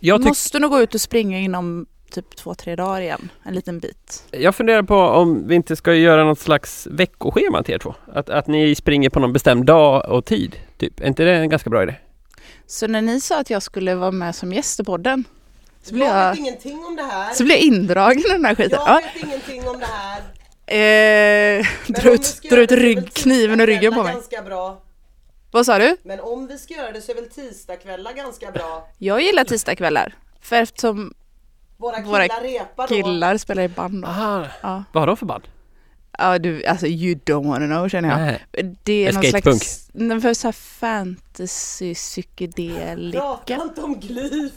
A: Jag, tyck-
D: måste nog gå ut och springa inom typ två, tre dagar igen. En liten bit.
A: jag funderar på om vi inte ska göra något slags veckoschema till er två. Att, att ni springer på någon bestämd dag och tid, typ. Är inte det en ganska bra idé?
D: Så när ni sa att jag skulle vara med som gäst i podden så blev
C: Jag
D: jag,
C: vet ingenting om det här.
D: så blev jag indragen i den här skiten.
C: Jag
D: Ja.
C: vet ingenting om det här.
D: Eh,
C: Men typ
D: dra
C: om vi
D: ut,
C: ska
D: dra
C: göra
D: ut
C: det så är väl
D: rygg, kniven ur ryggen på mig.
C: tisdagskvällar Ganska bra.
D: Vad sa du?
C: Men om vi ska göra det så är väl tisdagskvällar ganska bra.
D: Jag gillar tisdagskvällar. För eftersom
C: Våra killar
D: Våra
C: repar då.
D: killar spelar i band. då.
A: Ah,
D: Ja.
A: vad har de för band?
D: ja, du, alltså you don't wanna know känner jag.
A: Nej.
D: Det är någon
A: Skatepunk.
D: slags, nej, för så här fantasy psykedelika.
C: Prata inte om glyf.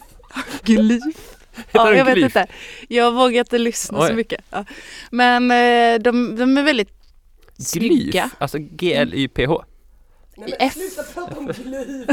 D: Glyf.
A: Heter
D: Ja,
A: den
D: jag vet
A: Glyf?
D: inte. Jag vågar inte lyssna
A: Oj.
D: så mycket. Ja. Men eh, de, de är väldigt
A: Glyf?
D: snygga.
A: Alltså G-L-Y-P-H?
C: Nej, men
D: F.
C: sluta prata om glyf.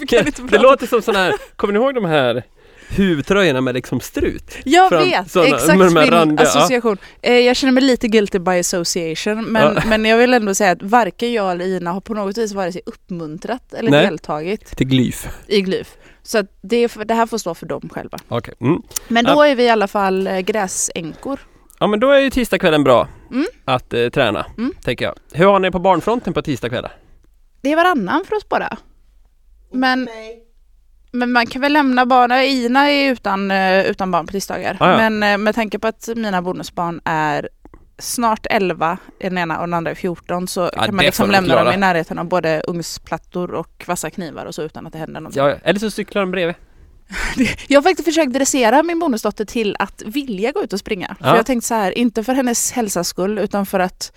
D: Vi kan inte
A: Det
D: prata.
A: låter som sådana här, kommer ni ihåg de här huvtröjorna med liksom strut?
D: jag
A: fram-
D: vet,
A: såna-
D: exakt
A: med de här
D: min
A: randiga, ja.
D: association. Eh, jag känner mig lite guilty by association men,
A: Ja.
D: men jag vill ändå säga att varken jag eller Ina har på något vis vare sig uppmuntrat eller
A: Nej.
D: deltagit
A: Till Glyf.
D: i Glyf. Så att det, är för- det här får stå för dem själva.
A: Okej. Mm.
D: Men
A: Ja.
D: då är vi i alla fall eh, gräsänkor.
A: Ja men då är ju tisdagskvällen bra
D: Mm.
A: att eh, träna,
D: Mm.
A: tänker jag. Hur har ni på barnfronten på tisdagskvällar?
D: Det är varannan för oss bara. Men
C: Nej.
D: Men man kan väl lämna barnen, Ina är utan, eh, utan barn på tisdagar.
A: Ah, ja.
D: Men eh, med tanke på att mina bonusbarn är snart 11, den ena och den andra är 14, så kan
A: det
D: man liksom
A: får de
D: lämna
A: klara.
D: dem i närheten av både ugnsplattor och vassa knivar och så utan att det händer någonting.
A: Ja, eller så cyklar de bredvid.
D: Jag har faktiskt försökt dressera min bonusdotter till att vilja gå ut och springa.
A: Ja.
D: För jag tänkte så här, inte för hennes hälsas skull utan för att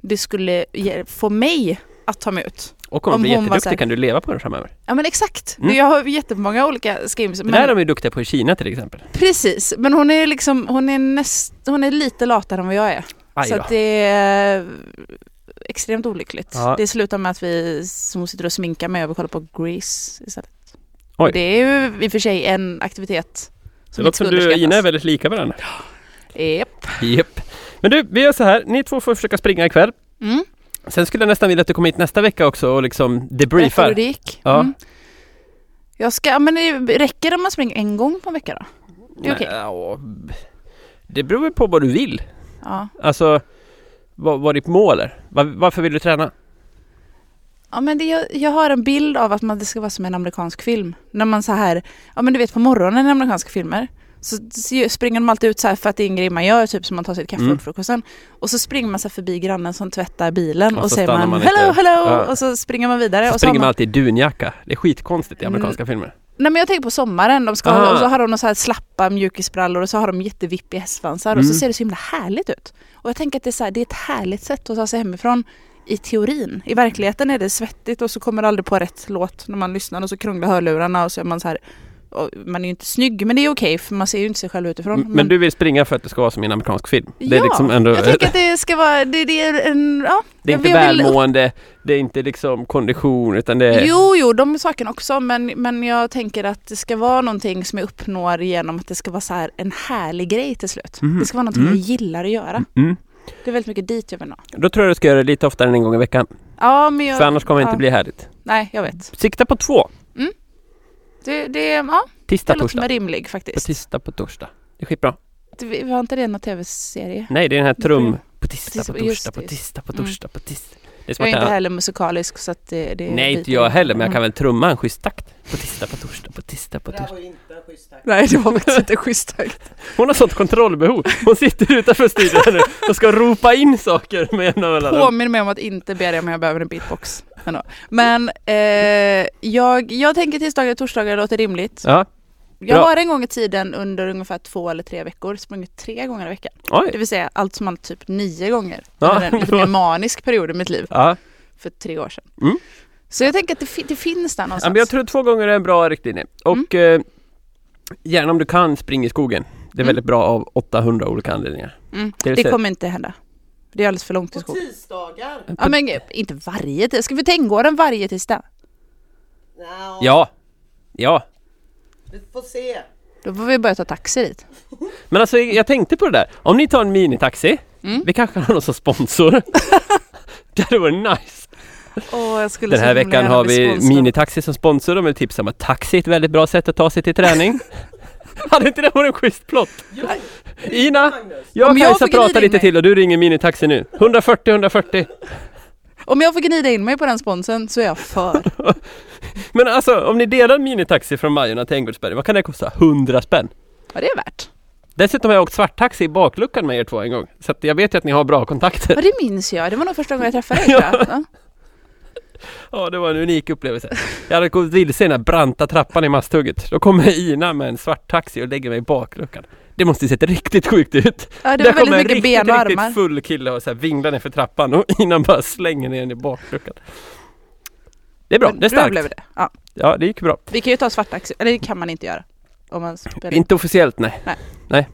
D: det skulle ge, få mig att ta mig ut.
A: Och om,
D: Om
A: du blir
D: hon var så här-
A: jätteduktig kan du leva på den framöver.
D: Ja men exakt,
A: Mm.
D: jag har jättemånga olika schemes.
A: Det där är
D: Men,
A: de ju duktiga på i Kina till exempel.
D: precis, men hon är liksom, hon är, näst, hon är lite latare än vad jag är.
A: Aj
D: så
A: då.
D: att det är eh, extremt olyckligt.
A: Ja.
D: Det slutar med att vi som sitter och sminkar mig över kollar på Grease istället.
A: Oj.
D: Det är ju i och för sig en aktivitet
A: Det
D: som
A: låter
D: inte ska
A: som du och Ina är
D: underskattas.
A: väldigt lika varandra.
D: Japp.
A: Japp. Men du, vi gör så här. Ni två får försöka springa ikväll.
D: Mm.
A: Sen skulle jag nästan vilja att du kom hit nästa vecka också och liksom
D: Berätta hur
A: debriefar.
D: det gick.
A: Ja.
D: Mm. Jag ska, men det räcker det om man springer en gång på en vecka då? det är okej.
A: Nej, ja, det beror väl på vad du vill.
D: Ja.
A: Alltså, vad, vad ditt mål är. Var, varför vill du träna?
D: Eh, Ja, men det, jag, jag har en bild av att man, det ska vara som en amerikansk film. När man så här, ja men du vet på morgonen i amerikanska filmer så s- springer de alltid ut så här för att det är en grej man gör, typ som man tar sitt kaffe
A: Mm.
D: och frukosten. Och så springer man så här förbi grannen som tvättar bilen
A: Och
D: och,
A: så
D: säger
A: stannar
D: man,
A: man
D: hello,
A: inte.
D: hello!
A: Ja.
D: Och så springer man vidare.
A: Så
D: och Mm. så har
A: springer man
D: man,
A: alltid i dunjacka. Det är skitkonstigt i amerikanska filmer.
D: nej men jag tänker på sommaren, de ska,
A: Ah.
D: och så har de någon så här slappa mjukisbrallor och så har de jättevippiga hästsvansar och så
A: Mm.
D: ser det så himla härligt ut. Och jag tänker att det är, så här, det är ett härligt sätt att ta sig hemifrån i teorin. I verkligheten är det svettigt och så kommer det aldrig på rätt låt när man lyssnar och så krånglar hörlurarna och så är man så här och man är ju inte snygg men det är okej för man ser ju inte sig själv utifrån.
A: M- Men, du vill springa för att det ska vara som i en amerikansk film. Det är
D: Ja,
A: liksom ändå...
D: jag tänker att det ska vara, det, det är en, ja.
A: Det är
D: jag
A: inte
D: vill- jag vill upp-
A: välmående, det är inte liksom kondition utan det är...
D: Jo, jo, de sakerna också men, men jag tänker att det ska vara någonting som jag uppnår genom att det ska vara så här en härlig grej till slut.
A: Mhm.
D: Det ska vara någonting
A: Mm.
D: jag gillar att göra.
A: Mm.
D: Det är väldigt mycket dit jag vill nå.
A: Då tror jag du ska göra det lite oftare än en gång i veckan.
D: Ja, men jag,
A: För annars kommer det inte
D: ja.
A: bli härligt.
D: Nej, jag vet.
A: Sikta på två.
D: Det, det, ja,
A: Tisdag,
D: det låter som
A: torsdag.
D: en rimlig
A: På
D: faktiskt.
A: tisdag, på torsdag. Det är skitbra.
D: Det- vi- Var inte det någon tv-serie?
A: Nej, det är den här trum...
D: Mm.
A: På tisdag, på
D: Tisdag, just
A: torsdag, på
D: det.
A: tisdag, på
D: Mm.
A: torsdag, på tisdag. Det är som
D: Jag
A: att
D: är inte
A: jag-
D: heller musikalisk så att det, det Mm.
A: Nej, inte jag heller, men jag kan väl trumma en schysst takt. På tisdag, på torsdag, på tisdag, på torsdag.
D: Nej, det var faktiskt inte schysst sagt.
A: Hon har sånt kontrollbehov. Hon sitter utanför studion här nu och ska ropa in saker med jämna mellanrum.
D: Påminn mig om att inte be dig om jag behöver en beatbox. Men, då. men eh, jag, jag tänker tisdagar och torsdagar låter rimligt.
A: Ja,
D: Jag
A: bra.
D: har en gång i tiden under ungefär två eller tre veckor sprungit tre gånger i veckan. Det
A: oj.
D: vill säga allt som allt typ nio gånger.
A: Ja.
D: Under en lite mer manisk period i mitt liv.
A: Ja.
D: för tre år sedan.
A: Mm.
D: Så jag tänker att det, fi- det finns där
A: Ja,
D: någonstans.
A: men jag tror två gånger är en bra riktlinje. Och eh, gärna om du kan, spring i skogen. Det är
D: Mm.
A: väldigt bra av 800 olika anledningar.
D: mm.
A: det
D: det,
A: vill säga-
D: kommer inte hända. Det är alldeles för långt till
C: På
D: skogen.
C: tisdagar?
D: Ja men gud, inte varje tisdag. Ska vi tänka den varje tisdag?
C: Nja,
A: Ja, ja.
C: vi får se.
D: Då får vi börja ta taxi dit.
A: Men alltså jag tänkte på det där. Om ni tar en minitaxi,
D: Mm.
A: vi kanske har någon som sponsor. det hade varit nice.
D: Åh, jag skulle
A: Den här veckan har vi Minitaxi som sponsor. De vill tipsa om att taxi är ett väldigt bra sätt att ta sig till träning. Hade inte det varit en schysst plott? Ina, jag
D: Om
A: och
D: jag
A: Kajsa
D: fick rida
A: pratar
D: in
A: lite
D: mig.
A: till och du ringer Minitaxi nu. 140 140.
D: Om jag får gnida in mig på den sponsen så är jag för.
A: Men alltså om ni delar en Minitaxi från Majorna till Änggårdsberg, vad kan det kosta? 100 spänn.
D: Vad det är värt.
A: Dessutom har jag åkt svarttaxi i bakluckan med er två en gång. Så att jag vet ju att ni har bra kontakter.
D: Ja, det minns jag. Det var nog första gången jag träffade dig tror jag. Ja.
A: Ja, det var en unik upplevelse. Jag hade gått vilse i den här branta trappan i Masthugget. Då kommer Ina med en svarttaxi och lägger mig i bakluckan. Det måste ju sett riktigt sjukt ut.
D: Ja, det
A: Där
D: var
A: kommer
D: väldigt mycket ben och armar.
A: riktigt full kille och så här vinglar ner för trappan och innan bara slänger ner den i bakluckan. Det är bra,
D: Men
A: det är
D: då
A: starkt.
D: blev det. Ja.
A: Ja, det gick bra.
D: Vi kan ju ta svart taxi. Eller det kan man inte göra. Om man spelar in.
A: Inte officiellt, nej.
D: Nej.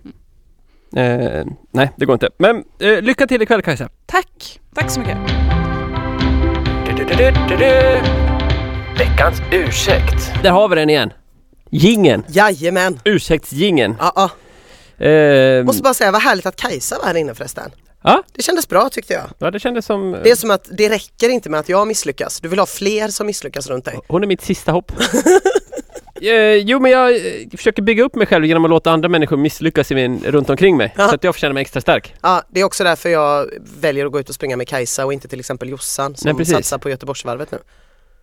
A: Nej, eh, nej det går inte. Men eh, lycka till ikväll Kajsa.
D: Tack. Tack så mycket.
A: Veckans ursäkt. Där har vi den igen. Gingen.
C: Jajamän.
A: Ursäktsgingen.
C: Ja, ja.
D: Mm.
A: Eh,
C: Måste bara säga, vad härligt att Kajsa var här inne förresten.
A: Ja.
C: Det kändes bra tyckte jag.
A: ja, det kändes som...
C: Det är som att det räcker inte med att jag misslyckas. Du vill ha fler som misslyckas runt dig.
A: Hon är mitt sista hopp. Eh, jo men jag eh, försöker bygga upp mig själv genom att låta andra människor misslyckas i min, runt omkring mig.
C: Ja.
A: Så att jag får känna mig extra stark.
C: Ja, det är också därför jag väljer att gå ut och springa med Kajsa och inte till exempel Jossan
A: Nej,
C: som
A: precis.
C: satsar på Göteborgsvarvet nu.
A: Ja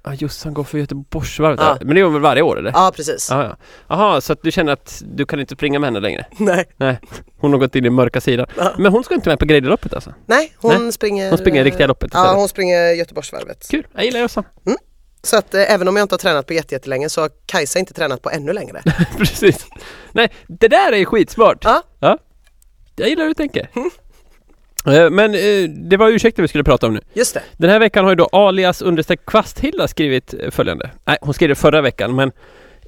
A: Ah, Jossan går för Göteborgsvarvet.
C: Ja.
A: Men det gör hon väl varje år eller?
C: Ja, precis.
A: Ah, ja. Aha, så att du känner att du kan inte springa med henne längre?
C: Nej.
A: Nej, hon har gått in i mörka sidan.
C: Ja.
A: Men hon ska inte med på Grejdeloppet alltså?
C: Nej, hon springer...
A: Hon springer i riktiga loppet
C: Eh, Ja,
A: istället.
C: hon springer Göteborgsvarvet.
A: Kul, jag gillar Jossan.
C: Så att eh, även om jag inte har tränat på jätte- jättelänge så har Kajsa inte tränat på ännu längre.
A: Precis. Nej, det där är ju skitsmart.
C: Ja. Mm.
A: Jag gillar hur du tänker. Eh, Men eh, det var ursäkter vi skulle prata om nu.
C: Just det.
A: Den här veckan har ju då alias understreck Kvasthilda skrivit eh, följande. Nej, hon skrev det förra veckan men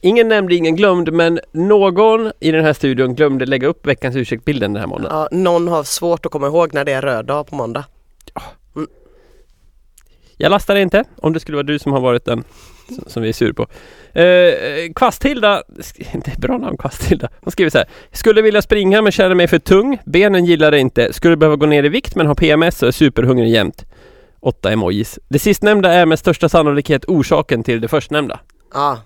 A: Ingen nämnde, ingen glömd, men någon i den här studion glömde lägga upp veckans ursäktbilden den här månaden.
C: Ja, någon har svårt att komma ihåg när det är röd dag på måndag.
A: Jag lastar dig inte, om det skulle vara du som har varit den som- som vi är sur på. Eh, Kvasthilda, sk- det är bra namn Kvasthilda, hon skriver så här. Skulle vilja springa men känner mig för tung, benen gillar det inte, skulle behöva gå ner i vikt men har PMS och är superhungrig jämt. Åtta emojis. Det sistnämnda är med största sannolikhet orsaken till det förstnämnda.
C: Ja.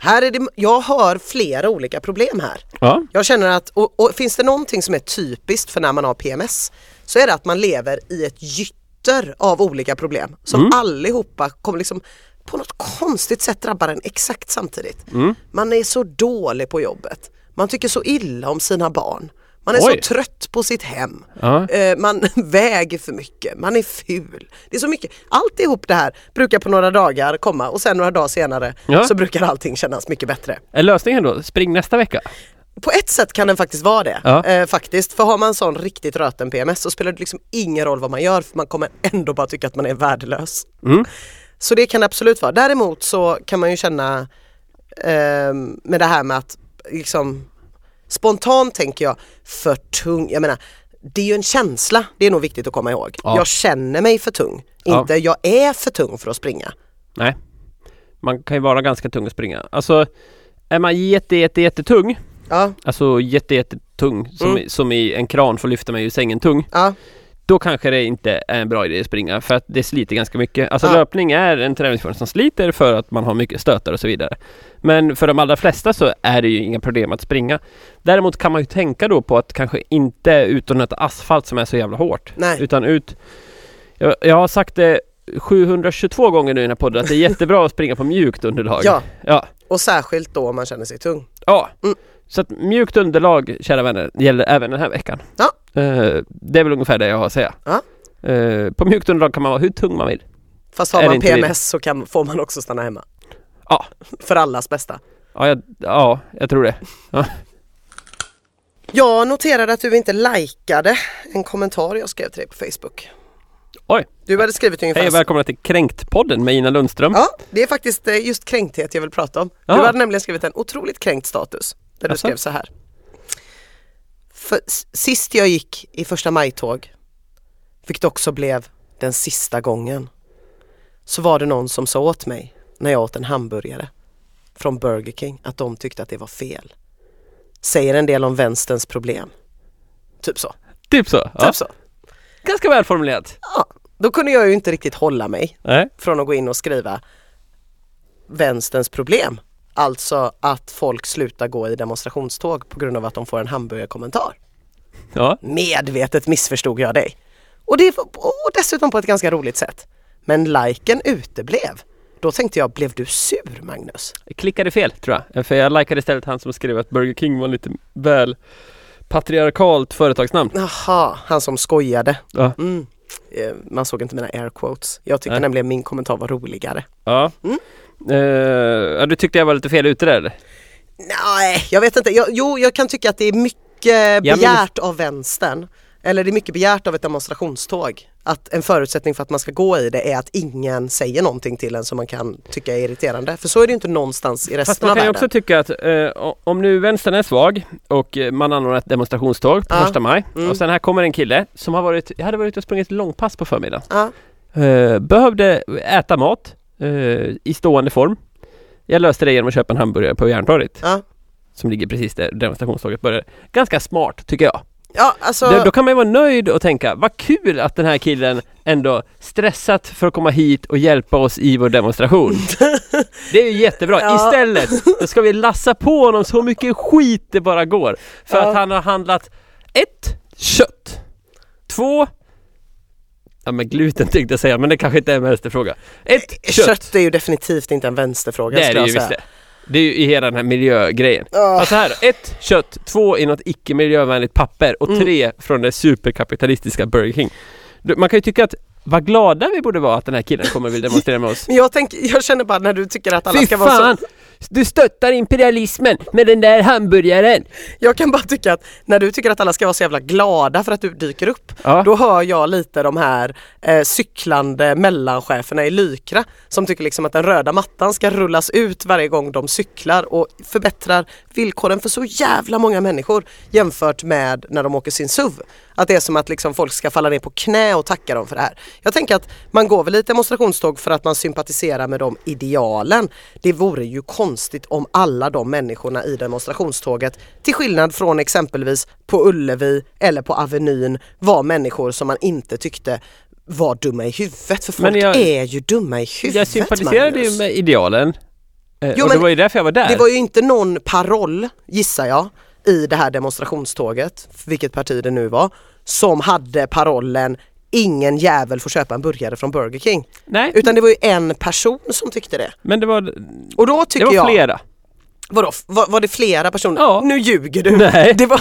C: Här är det, jag hör flera olika problem här.
A: Ja,
C: Jag känner att, och, och finns det någonting som är typiskt för när man har PMS så är det att man lever i ett gytter av olika problem som
A: Mm.
C: allihopa kommer liksom på något konstigt sätt drabbar en exakt samtidigt.
A: Mm.
C: Man är så dålig på jobbet, man tycker så illa om sina barn, man är
A: Oj.
C: så trött på sitt hem,
A: Ja.
C: Eh, man väger för mycket, man är ful. Det är så mycket, alltihop det här brukar på några dagar komma och sen några dagar senare
A: Ja.
C: så brukar allting kännas mycket bättre.
A: är lösningen då? Spring nästa vecka?
C: På ett sätt kan den faktiskt vara det.
A: Ja.
C: Eh, faktiskt. För har man sån riktigt röten PMS så spelar det liksom ingen roll vad man gör för man kommer ändå bara tycka att man är värdelös.
A: Mm.
C: Så det kan det absolut vara. Däremot så kan man ju känna ehm, med det här med att liksom spontant tänker jag för tung. Jag menar, det är ju en känsla. Det är nog viktigt att komma ihåg.
A: Ja.
C: Jag känner mig för tung.
A: Ja.
C: Inte jag är för tung för att springa.
A: Nej. Man kan ju vara ganska tung att springa. Alltså, är man jätte, jätte, jättetung,
C: Ja,
A: alltså jätte, jättetung, som, i- som i en kran får lyfta mig ur sängen tung,
C: ja,
A: då kanske det inte är en bra idé att springa för att det sliter ganska mycket. Alltså
C: Ja.
A: löpning är en träningsform som sliter för att man har mycket stötar och så vidare. Men för de allra flesta så är det ju inga problem att springa. Däremot kan man ju tänka då på att kanske inte ut och nöta asfalt som är så jävla hårt.
C: nej.
A: Utan ut... Jag, jag har sagt det 722 gånger nu i den här podden att det är jättebra att springa på mjukt underlag.
C: Ja,
A: Ja.
C: och särskilt då om man känner sig tung.
A: ja.
C: Mm.
A: Så att mjukt underlag, kära vänner, gäller även den här veckan.
C: Ja.
A: Eh, det är väl ungefär det jag har att säga.
C: Ja.
A: Eh, på mjukt underlag kan man vara hur tung man vill.
C: Fast
A: Är
C: har
A: det
C: man
A: inte det?
C: PMS så kan, får man också stanna hemma.
A: Ja.
C: För allas bästa.
A: Ja, jag, ja, jag tror det.
C: Jag noterade att du inte likade en kommentar jag skrev till dig på Facebook.
A: Oj.
C: Du hade skrivit ungefär
A: Hej och
C: så-
A: välkomna till Kränkt-podden med Ina Lundström.
C: Ja, det är faktiskt eh, just kränkthet jag vill prata om.
A: Mm. Ja.
C: Du hade nämligen skrivit en otroligt kränkt status där du
A: Jaså?
C: skrev så här. För, s- sist jag gick i första maj-tåg, vilket också blev den sista gången, så var det någon som sa åt mig när jag åt en hamburgare från Burger King att de tyckte att det var fel. Säger en del om vänsterns problem. Typ så.
A: Typ så. Ja.
C: Typ så.
A: Ganska välformulerat.
C: Ja, då kunde jag ju inte riktigt hålla mig
A: Nej.
C: från att gå in och skriva vänsterns problem. Alltså att folk slutar gå i demonstrationståg på grund av att de får en hamburgerkommentar.
A: Ja.
C: Medvetet missförstod jag dig. Och, det, var- och dessutom på ett ganska roligt sätt. Men liken uteblev. Då tänkte jag, blev du sur Magnus?
A: Jag klickade fel tror jag. Eh, För jag likade istället han som skrev att Burger King var lite väl patriarkalt företagsnamn.
C: Jaha, han som skojade.
A: Ja.
C: Mm. Eh, Man såg inte mina air quotes. Jag tyckte
A: Nej.
C: nämligen min kommentar var roligare.
A: Ja.
C: Mm.
A: Eh, ja, du tyckte jag var lite fel ute där?
C: Nej, jag vet inte. Jag, jo, jag kan tycka att det är mycket
A: minns-
C: begärt av vänstern. Eller det är mycket begärt av ett demonstrationståg. Att en förutsättning för att man ska gå i det är att ingen säger någonting till en som man kan tycka är irriterande. För så är det ju inte någonstans i
A: Fast
C: resten
A: man
C: av
A: kan ju
C: världen.
A: också tycka att eh, o- om nu vänstern är svag och eh, man anordnar ett demonstrationståg på
C: Ja.
A: första maj
C: Mm.
A: och sen här kommer en kille som har varit, jag hade varit ute och sprungit långpass på förmiddagen.
C: Ja,
A: Eh, behövde äta mat eh, i stående form. Jag löste det genom att köpa en hamburgare på Järntorget
C: ja.
A: som ligger precis där demonstrationståget började. Ganska smart tycker jag.
C: ja alltså,
A: Då, då kan man ju vara nöjd och tänka, vad kul att den här killen ändå stressat för att komma hit och hjälpa oss i vår demonstration. Det är ju jättebra.
C: Ja.
A: Istället då ska vi lassa på honom så mycket skit det bara går. För
C: Ja.
A: att han har handlat ett, kött. Två, ja men gluten tänkte jag säga, men det kanske inte är en vänsterfråga. Ett,
C: kött.
A: kött.
C: är ju definitivt inte en vänsterfråga
A: Det är det
C: skulle jag
A: ju
C: säga.
A: visst det. Det är ju i hela den här miljögrejen.
C: Ja.
A: Alltså här då, ett kött, två i något icke miljövänligt papper
C: Mm.
A: och tre från det superkapitalistiska Burger King. Du, Man kan ju tycka att vad glada vi borde vara att den här killen kommer och vill demonstrera med oss.
C: Men jag, tänker, jag känner bara när du tycker att alla
A: Fy
C: ska vara
A: fan!
C: så...
A: Du stöttar imperialismen med den där hamburgaren!
C: Jag kan bara tycka att när du tycker att alla ska vara så jävla glada för att du dyker upp,
A: Ja.
C: då hör jag lite de här eh, cyklande mellancheferna i Lykra som tycker liksom att den röda mattan ska rullas ut varje gång de cyklar och förbättrar villkoren för så jävla många människor jämfört med när de åker sin SUV. Att det är som att liksom folk ska falla ner på knä och tacka dem för det här. Jag tänker att man går väl i ett demonstrationståg för att man sympatiserar med de idealen. Det vore ju konstigt om alla de människorna i demonstrationståget, till skillnad från exempelvis på Ullevi eller på Avenyn, var människor som man inte tyckte var dumma i huvudet. För folk
A: Men jag-
C: är ju dumma i huvudet
A: Jag sympatiserade ju
C: Magnus.
A: med idealen. Eh,
C: Jo,
A: och det
C: men
A: var ju därför jag var där.
C: Det var ju inte någon paroll, gissar jag, i det här demonstrationståget, vilket parti det nu var, som hade parollen Ingen jävel får köpa en burgare från Burger King.
A: Nej,
C: Utan det var ju en person som tyckte det.
A: men det var,
C: Och då
A: det
C: tycker
A: var
C: jag...
A: flera.
C: Vadå, f- var, var det flera personer?
A: Ja.
C: Nu ljuger du!
A: Nej.
C: Det, var,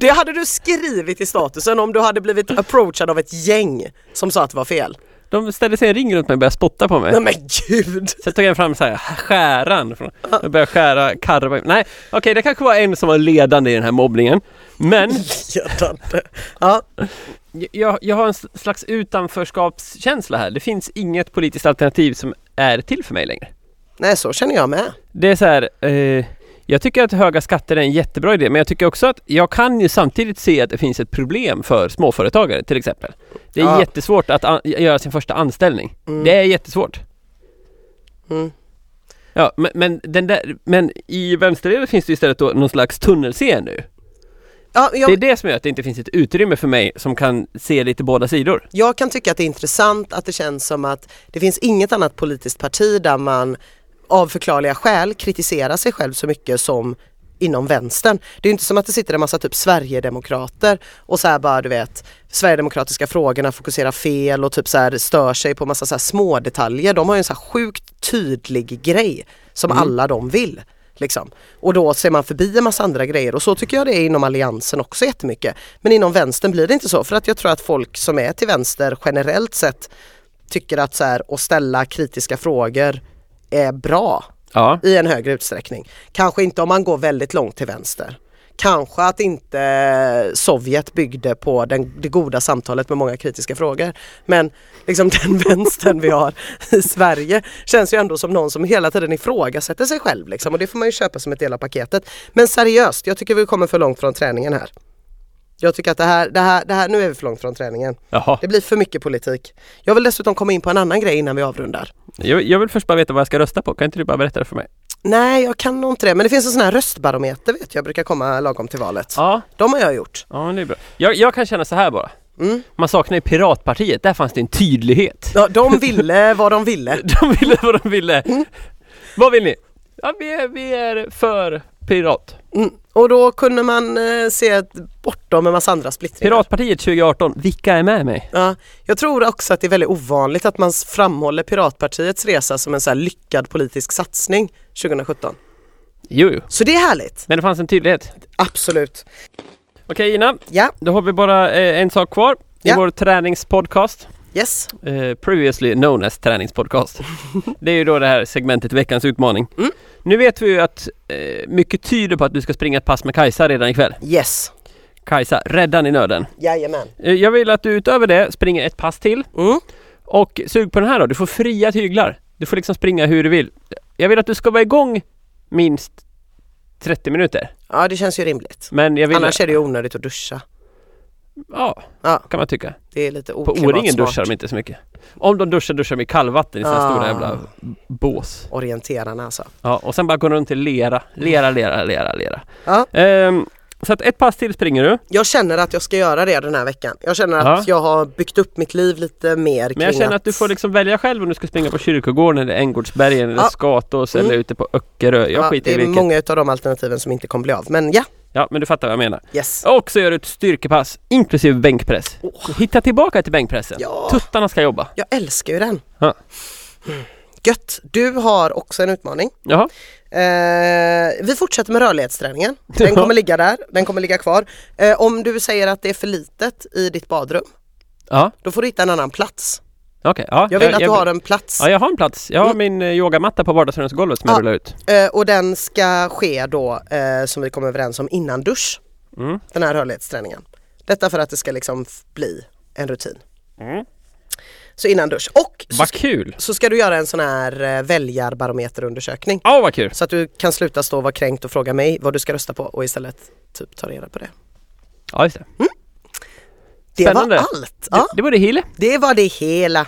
C: det hade du skrivit i statusen om du hade blivit approachad av ett gäng som sa att det var fel.
A: De ställde sig i en ring runt mig och började spotta på mig.
C: Nej men gud!
A: Sen tog jag fram så här, skäran. från- Jag började skära karva. Nej, okej det kanske var en som var ledande i den här mobbningen. Men
C: Ledande. Ja,
A: jag, jag har en sl- slags utanförskapskänsla här. Det finns inget politiskt alternativ som är till för mig längre.
C: nej så känner jag med.
A: Det är så här, eh, jag tycker att höga skatter är en jättebra idé, men jag tycker också att jag kan ju samtidigt se att det finns ett problem för småföretagare till exempel. Det är
C: Ja.
A: jättesvårt att an- göra sin första anställning. Det är jättesvårt.
C: Mm.
A: Ja, men, men, den där, men i vänsterledet finns det istället då någon slags tunnelseende. nu.
C: Ja, jag,
A: Det är det som gör att det inte finns ett utrymme för mig som kan se lite båda sidor.
C: Jag kan tycka att det är intressant att det känns som att det finns inget annat politiskt parti där man av förklarliga skäl kritiserar sig själv så mycket som inom vänstern. Det är ju inte som att det sitter en massa typ Sverigedemokrater och så här bara du vet Sverigedemokratiska frågorna fokuserar fel och typ så här stör sig på massa så här små detaljer. De har ju en så här sjukt tydlig grej som alla de vill. Liksom. Och då ser man förbi en massa andra grejer och så tycker jag det är inom alliansen också jättemycket. Men inom vänstern blir det inte så för att jag tror att folk som är till vänster generellt sett tycker att så här, att ställa kritiska frågor är bra
A: Ja.
C: i en högre utsträckning. Kanske inte om man går väldigt långt till vänster. Kanske att inte Sovjet byggde på den, det goda samtalet med många kritiska frågor. Men liksom den vänstern vi har i Sverige känns ju ändå som någon som hela tiden ifrågasätter sig själv. Liksom, och det får man ju köpa som ett del av paketet. Men seriöst, jag tycker vi kommer för långt från träningen här. Jag tycker att det här, det här, det här nu är vi för långt från träningen.
A: Jaha.
C: Det blir för mycket politik. Jag vill dessutom komma in på en annan grej innan vi avrundar.
A: Jag, jag vill först bara veta vad jag ska rösta på. Kan inte du bara berätta det för mig?
C: Nej, jag kan nog inte det. Men det finns en sån här röstbarometer vet jag, brukar komma lagom till valet.
A: Ja,
C: De har jag gjort.
A: ja men det är bra. Jag, jag kan känna så här bara.
C: Mm.
A: Man saknar ju Piratpartiet, där fanns det en tydlighet.
C: Ja, de ville vad de ville.
A: De ville vad de ville. Vad vill ni? Ja, vi är, vi är för pirat.
C: Mm. Och då kunde man eh, se att bortom en massa andra splittringar.
A: Piratpartiet 2018, vilka är med mig?
C: Ja, jag tror också att det är väldigt ovanligt att man s- framhåller Piratpartiets resa som en så här lyckad politisk satsning 2017.
A: Jo, jo.
C: Så det är härligt.
A: Men det fanns en tydlighet.
C: Absolut.
A: Okej Ina,
C: Ja,
A: då har vi bara eh, en sak kvar i
C: Ja.
A: vår träningspodcast.
C: yes.
A: Eh, previously known as träningspodcast. det är ju då det här segmentet veckans utmaning.
C: Mm.
A: Nu vet vi ju att eh, mycket tyder på att du ska springa ett pass med Kajsa redan ikväll.
C: Yes.
A: Kajsa, räddan i nöden.
C: Jajamän.
A: Eh, jag vill att du utöver det springer ett pass till.
C: Mm.
A: Och sug på den här då, du får fria tyglar. Du får liksom springa hur du vill. Jag vill att du ska vara igång minst 30 minuter.
C: Ja, det känns ju rimligt.
A: Men jag vill...
C: Annars är det ju onödigt att duscha.
A: Ja,
C: Ja,
A: kan man tycka.
C: det är lite
A: På O-ringen duschar
C: oklimatsmart.
A: de inte så mycket. Om de duschar, duschar de i kallvatten i sådana
C: Ah.
A: stora jävla bås.
C: Orienterarna alltså.
A: Ja, och sen bara går de runt i lera. Lera, lera, lera, lera.
C: Ja.
A: Ehm, så att ett pass till springer du.
C: Jag känner att jag ska göra det den här veckan. Jag känner att
A: Ja.
C: jag har byggt upp mitt liv lite mer kring
A: Men jag känner att du får liksom välja själv om du ska springa på Kyrkogården eller Änggårdsbergen eller
C: Ja.
A: Skatås eller
C: Mm.
A: ute på Öckerö. Jag
C: ja,
A: skiter
C: det
A: i
C: är
A: vilket.
C: många av de alternativen som inte kommer bli av. Men ja,
A: Ja, men du fattar vad jag menar.
C: yes.
A: Och så gör du ett styrkepass, inklusive bänkpress.
C: Åh.
A: Hitta tillbaka till bänkpressen.
C: Oh. Ja.
A: Tuttarna ska jobba.
C: Jag älskar ju den.
A: Ja.
C: Mm. Gött! Du har också en utmaning.
A: Jaha.
C: Eh, vi fortsätter med rörlighetsträningen. Den
A: Ja.
C: kommer ligga där, den kommer ligga kvar. Eh, om du säger att det är för litet i ditt badrum,
A: Ja.
C: då får du hitta en annan plats.
A: Okej, ja.
C: Jag vill att du har en plats
A: Ja, jag har en plats. Jag har
C: Mm.
A: min eh, yogamatta på vardagsrumsgolvet som jag
C: Ja.
A: rullar ut.
C: eh, och den ska ske då eh, som vi kom överens om innan dusch.
A: Mm.
C: Den här rörlighetsträningen. Detta för att det ska liksom f- bli en rutin.
A: Mm.
C: Så innan dusch. Och så,
A: Vad kul!
C: så ska du göra en sån här eh, väljarbarometerundersökning.
A: Ja, vad kul!
C: Så att du kan sluta stå och vara kränkt och fråga mig vad du ska rösta på och istället typ ta reda på det.
A: Ja, just det.
C: Det
A: Spännande.
C: var allt! Ja,
A: Det, det var det hela.
C: det var det hela.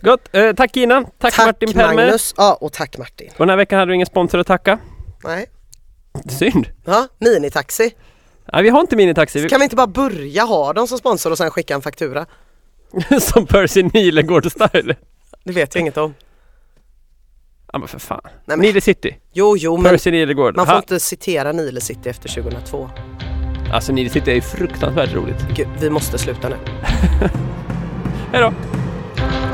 A: Gott! Eh, tack Gina! Tack, Martin Permer!
C: Magnus. Ja, och tack Martin.
A: Och den här veckan hade du ingen sponsor att tacka.
C: Nej.
A: Synd!
C: Ja, minitaxi.
A: Nej, vi har inte minitaxi. Vi,
C: Kan vi inte bara börja ha dem som sponsor och sen skicka en faktura?
A: som Percy Nilegård style.
C: Det vet jag inget om.
A: Ja men för fan.
C: men-
A: Nile City.
C: Jo, jo, men
A: Percy Nilegård.
C: man får
A: Ha.
C: inte citera Nile City efter 2002.
A: Alltså Nile City är ju fruktansvärt roligt.
C: Gud, vi måste sluta nu.
A: Hejdå!
B: Biska